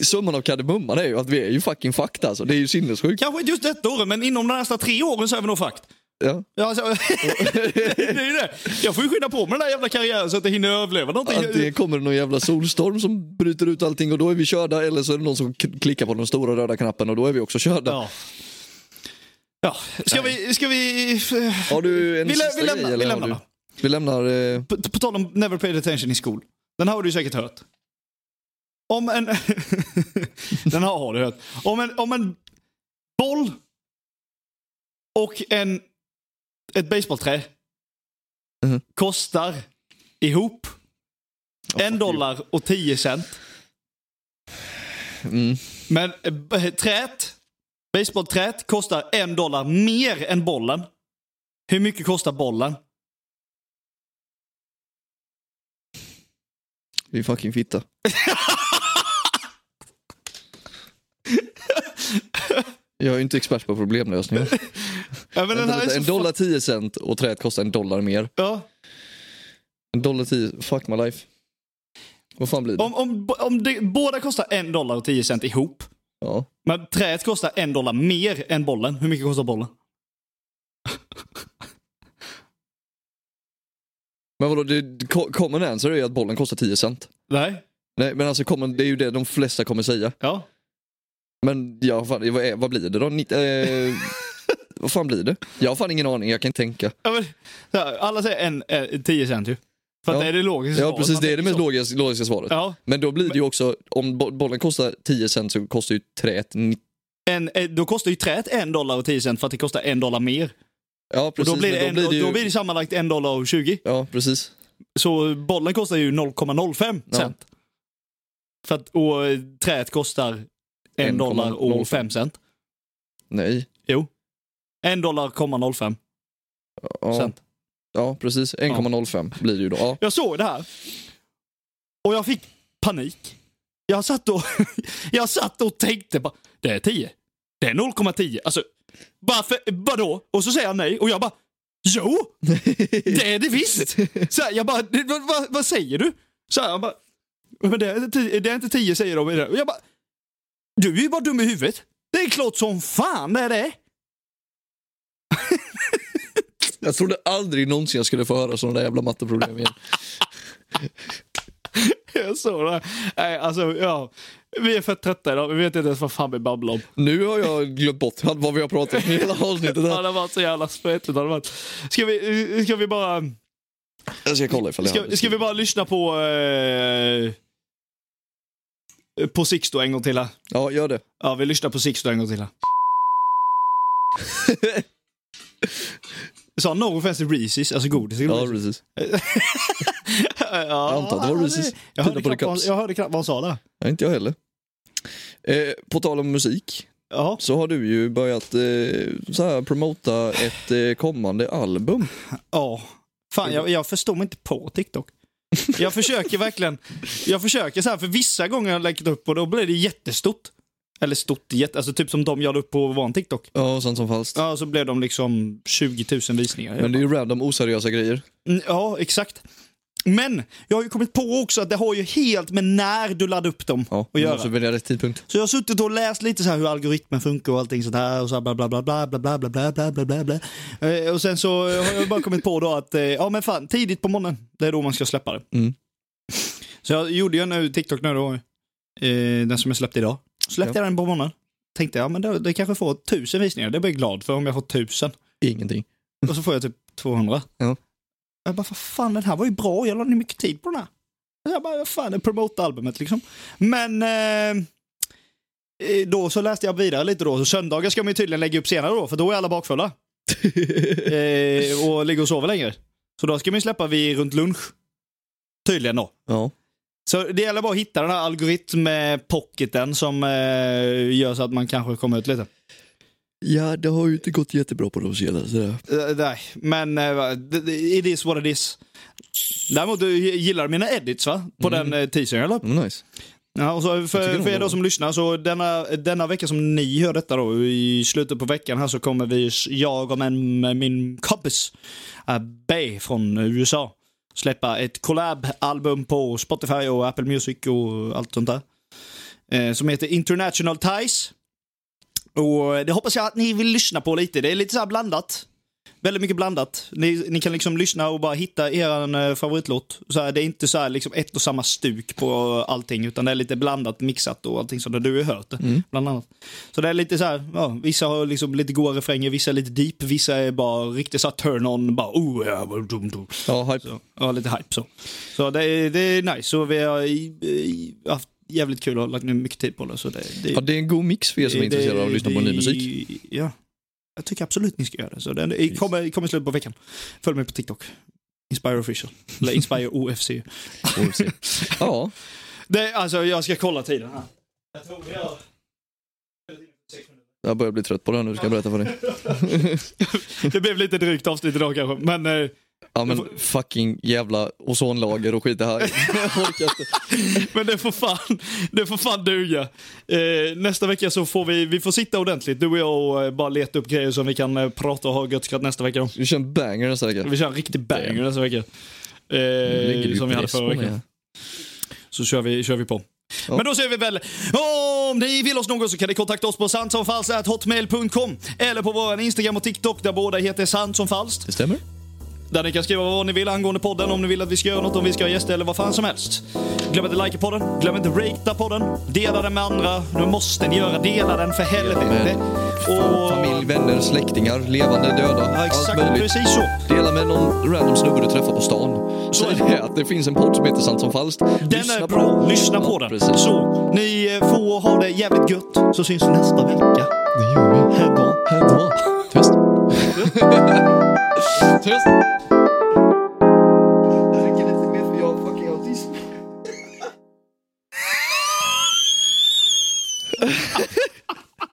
S1: summan av kardemumman är ju att vi är ju fucking fucked alltså. Det är ju sinnessjukt.
S2: Kanske inte just detta året, men inom de nästa tre åren så är vi nog fakt.
S1: Ja.
S2: Ja, alltså, det är ju det. Jag får ju skynda på med den där jävla karriären så att jag hinner överleva någonting.
S1: Antingen kommer det någon jävla solstorm som bryter ut allting och då är vi körda eller så är det någon som k- klickar på den stora röda knappen och då är vi också körda.
S2: Ja. Ja. Ska vi... Ska vi
S1: Har du en
S2: Vi lä-
S1: sista
S2: vi lämnar-
S1: grej?
S2: vi
S1: eller har
S2: lämnar
S1: du-
S2: va?
S1: vi lämnar eh,
S2: på, på tal om never paid attention in school. Den här har du säkert hört. Om en... den här har du hört. Om en, om en boll och en, ett baseballträ
S1: Mhm.
S2: kostar ihop en dollar och tio cent.
S1: Mm.
S2: Men eh, b- träet, baseballträet kostar en dollar mer än bollen. Hur mycket kostar bollen?
S1: din fucking fitta. Jag är ju inte expert på problemlösningar.
S2: Ja, men den här är så
S1: en
S2: fa-
S1: dollar 10 cent och träet kostar en dollar mer.
S2: Ja.
S1: En dollar 10, fuck my life. Vad fan blir det?
S2: Om, om, om det, båda kostar en dollar och tio cent ihop,
S1: Ja.
S2: men träet kostar en dollar mer än bollen. Hur mycket kostar bollen?
S1: Men vadå, det, ko- common answer är ju att bollen kostar 10 cent.
S2: Nej.
S1: Nej men alltså common, det är ju det de flesta kommer säga.
S2: Ja.
S1: Men ja, fan, vad, är, vad blir det då? Ni, eh, vad fan blir det? Jag har fan ingen aning, jag kan inte tänka.
S2: ja men, så här, alla säger en, eh, tio cent ju. För att
S1: Ja.
S2: det är det logiska
S1: Ja
S2: svaret.
S1: precis,
S2: Man
S1: det är det
S2: tänker
S1: mest
S2: så.
S1: logiska, logiska svaret.
S2: Ja.
S1: Men då blir det ju också, om bo- bollen kostar 10 cent så kostar ju träet ni-
S2: En, eh, då kostar ju träet en dollar och tio cent för att det kostar en dollar mer.
S1: Ja
S2: Och
S1: precis,
S2: då blir, det
S1: men
S2: en, då,
S1: ju-
S2: blir det sammanlagt en dollar och tjugo.
S1: Ja precis.
S2: Så bollen kostar ju 0,05
S1: Ja.
S2: cent. För att, och eh, träet kostar en dollar och
S1: 1,05.
S2: fem cent.
S1: Nej.
S2: Jo. En dollar, komma 05
S1: Ja,
S2: cent.
S1: ja precis, 1,05 blir det ju då. Ja.
S2: Jag såg det här. Och jag fick panik. Jag satt och, jag satt och tänkte bara, det är 10. Det är 0,10. Alltså, varför, vadå? Och så säger han nej och jag bara, jo! Det är det visst! Så här, jag bara, "Det- vad, vad, vad säger du? Så här, han bara, men det är, ti- det är inte 10 säger de. i det." Och jag bara, du är ju bara dum i huvudet. Det är klart som fan det är det.
S1: Jag trodde aldrig någonsin jag skulle få höra sådana där jävla matteproblem igen.
S2: Jag såg det. här. Nej, alltså, ja. Vi är för trötta idag. Vi vet inte ens vad fan vi babblar om.
S1: Nu har jag glömt bort vad vi har pratat om i hela avsnittet.
S2: Ja,
S1: Här.
S2: det var så jävla spretigt. har Det varit. Ska, vi, eh, ska vi bara
S1: Jag ska kolla ifall jag
S2: ska, ska vi bara lyssna på eh, på Sixto en gång till här?
S1: Ja, gör det.
S2: Ja, vi lyssnar på Sixto en gång till här. Jag sa no offense to Reese's, alltså godis.
S1: Ja, precis.
S2: jag
S1: antar att det var Reese's. Pina
S2: Jag hörde,
S1: på the
S2: knappt vad, han-
S1: cups.
S2: jag hörde knappt vad han sa där.
S1: Ja, inte jag heller. Eh, på tal om musik
S2: Ja,
S1: så har du ju börjat eh, så här, promota ett eh, kommande album.
S2: ja. Fan, jag, jag förstår mig inte på TikTok. Jag försöker verkligen. Jag försöker så här, för vissa gånger har jag lagt upp och då blir det jättestort. Eller stort, jätte, alltså typ som de jag la upp på van TikTok.
S1: Ja, och sånt som falskt.
S2: Ja, så blev de liksom 20 000 visningar.
S1: Men det är ju random oseriösa grejer.
S2: Mm, Ja, exakt. Men jag har ju kommit på också att det har ju helt med när du laddar upp dem
S1: Ja, alltså,
S2: att
S1: man
S2: göra.
S1: måste välja rätt tidpunkt.
S2: Så jag har suttit och läst lite så här hur algoritmen funkar och allting sånt här och så här bla bla bla bla bla bla bla bla bla bla bla bla. Eh, Och sen så har jag bara kommit på då att eh, ja men fan tidigt på morgonen, det är då man ska släppa det.
S1: Mm.
S2: Så jag gjorde ju nu TikTok nu då, eh, den som jag släppte idag. Släppte jag den på morgonen. Tänkte jag, men det, det kanske får tusen visningar, det blir jag glad för om jag får tusen.
S1: Ingenting.
S2: Och så får jag typ 200.
S1: Ja.
S2: Jag bara, vad fan den här var ju bra, jag la ner mycket tid på den här. Så jag bara, vad fan, jag promotar albumet liksom. Men eh, eh, då så läste jag vidare lite då, så söndagar ska man ju tydligen lägga upp senare då, för då är alla bakfulla. eh, och ligger och sover längre. Så då ska man ju släppa vid runt lunch. Tydligen då.
S1: Ja.
S2: Så det gäller bara att hitta den här algoritm-pocketen som eh, gör så att man kanske kommer ut lite.
S1: ja, det har ju inte gått jättebra på de senaste.
S2: Eh, nej, men uh, it is what it is. Däremot du gillar mina edits va? På
S1: Mm.
S2: den uh, teasern jag la upp.
S1: Mm, nice.
S2: Ja, och så
S1: Jag tycker
S2: för,
S1: nog
S2: för
S1: det var-
S2: er då som lyssnar, så denna, denna vecka som ni hör detta då, i slutet på veckan här så kommer vi, jag och min, min kompis eh, B från USA, släppa ett collab-album på Spotify och Apple Music och allt sånt där. Eh, som heter International eh, Ties. Och det hoppas jag att ni vill lyssna på lite. Det är lite så här blandat. Väldigt mycket blandat. Ni, ni kan liksom lyssna och bara hitta er eh, favoritlåt. Så här, det är inte så här liksom ett och samma stuk på allting, utan det är lite blandat, mixat och allting sånt. Du har ju hört det, bland annat. Så det är lite så här, ja, vissa har liksom lite goa refränger, vissa är lite deep, vissa är bara riktigt så här turn-on, bara oh, ja, dum, dum.
S1: Ja, hype.
S2: Så, ja, lite hype så. Så det är, det är nice. Så vi har i- i- haft jävligt kul och lagt ner mycket tid på det. Så det, det
S1: Ja, det är en god mix för er som är
S2: det-
S1: intresserade av att lyssna på
S2: det-
S1: ny musik.
S2: Ja. Jag tycker absolut ni ska göra det. Så den det kommer, kommer i slutet på veckan. Följ mig på TikTok. Inspire official. Eller Inspire OFC.
S1: Ja,
S2: Det, alltså jag ska kolla tiden här. Jag tror vi har...
S1: jag börjar bli trött på det här nu, ska jag berätta för dig.
S2: Det blev lite drygt avsnitt idag kanske, men... eh,
S1: Ja men fucking jävla ozonlager och skit det här. Jag orkar inte.
S2: Men det får fan, det får fan duga. Eh, nästa vecka så får vi, vi får sitta ordentligt, du och jag, och eh, bara leta upp grejer som vi kan eh, prata och ha gött skratt nästa vecka. om.
S1: Vi kör en banger nästa vecka.
S2: Vi kör en riktig banger nästa vecka.
S1: Ligger
S2: Eh,
S1: du
S2: som vi hade
S1: press på
S2: förra
S1: mig
S2: veckan.
S1: här?
S2: Så kör vi, kör vi på.
S1: Ja.
S2: Men då säger vi väl, om ni vill oss något så kan ni kontakta oss på sannsomfalskt.hotmail.com eller på vår Instagram och TikTok där båda heter sant som falskt.
S1: Det stämmer.
S2: Där ni kan skriva vad ni vill angående podden, om ni vill att vi ska göra något, om vi ska ha gäster eller vad fan som helst. Glöm inte likea podden, glöm inte ratea podden, dela den med andra. Nu måste ni göra, dela den för helvete.
S1: Jajamän.
S2: Och...
S1: Familj, vänner, släktingar, levande, döda,
S2: Ja,
S1: allt
S2: exakt,
S1: möjligt.
S2: precis så.
S1: Dela med någon random snubbe du träffar på stan.
S2: Så
S1: Säg
S2: är det.
S1: det, att det finns en podd som heter Sant som falskt.
S2: Den är bra, lyssna på den.
S1: Precis.
S2: Så, ni eh, får ha det jävligt gött, så syns vi nästa vecka.
S1: Det gör vi.
S2: Hej då.
S1: Hej då. Tyst. Tyst. Jag räcker lite mer för jag har fucking autism.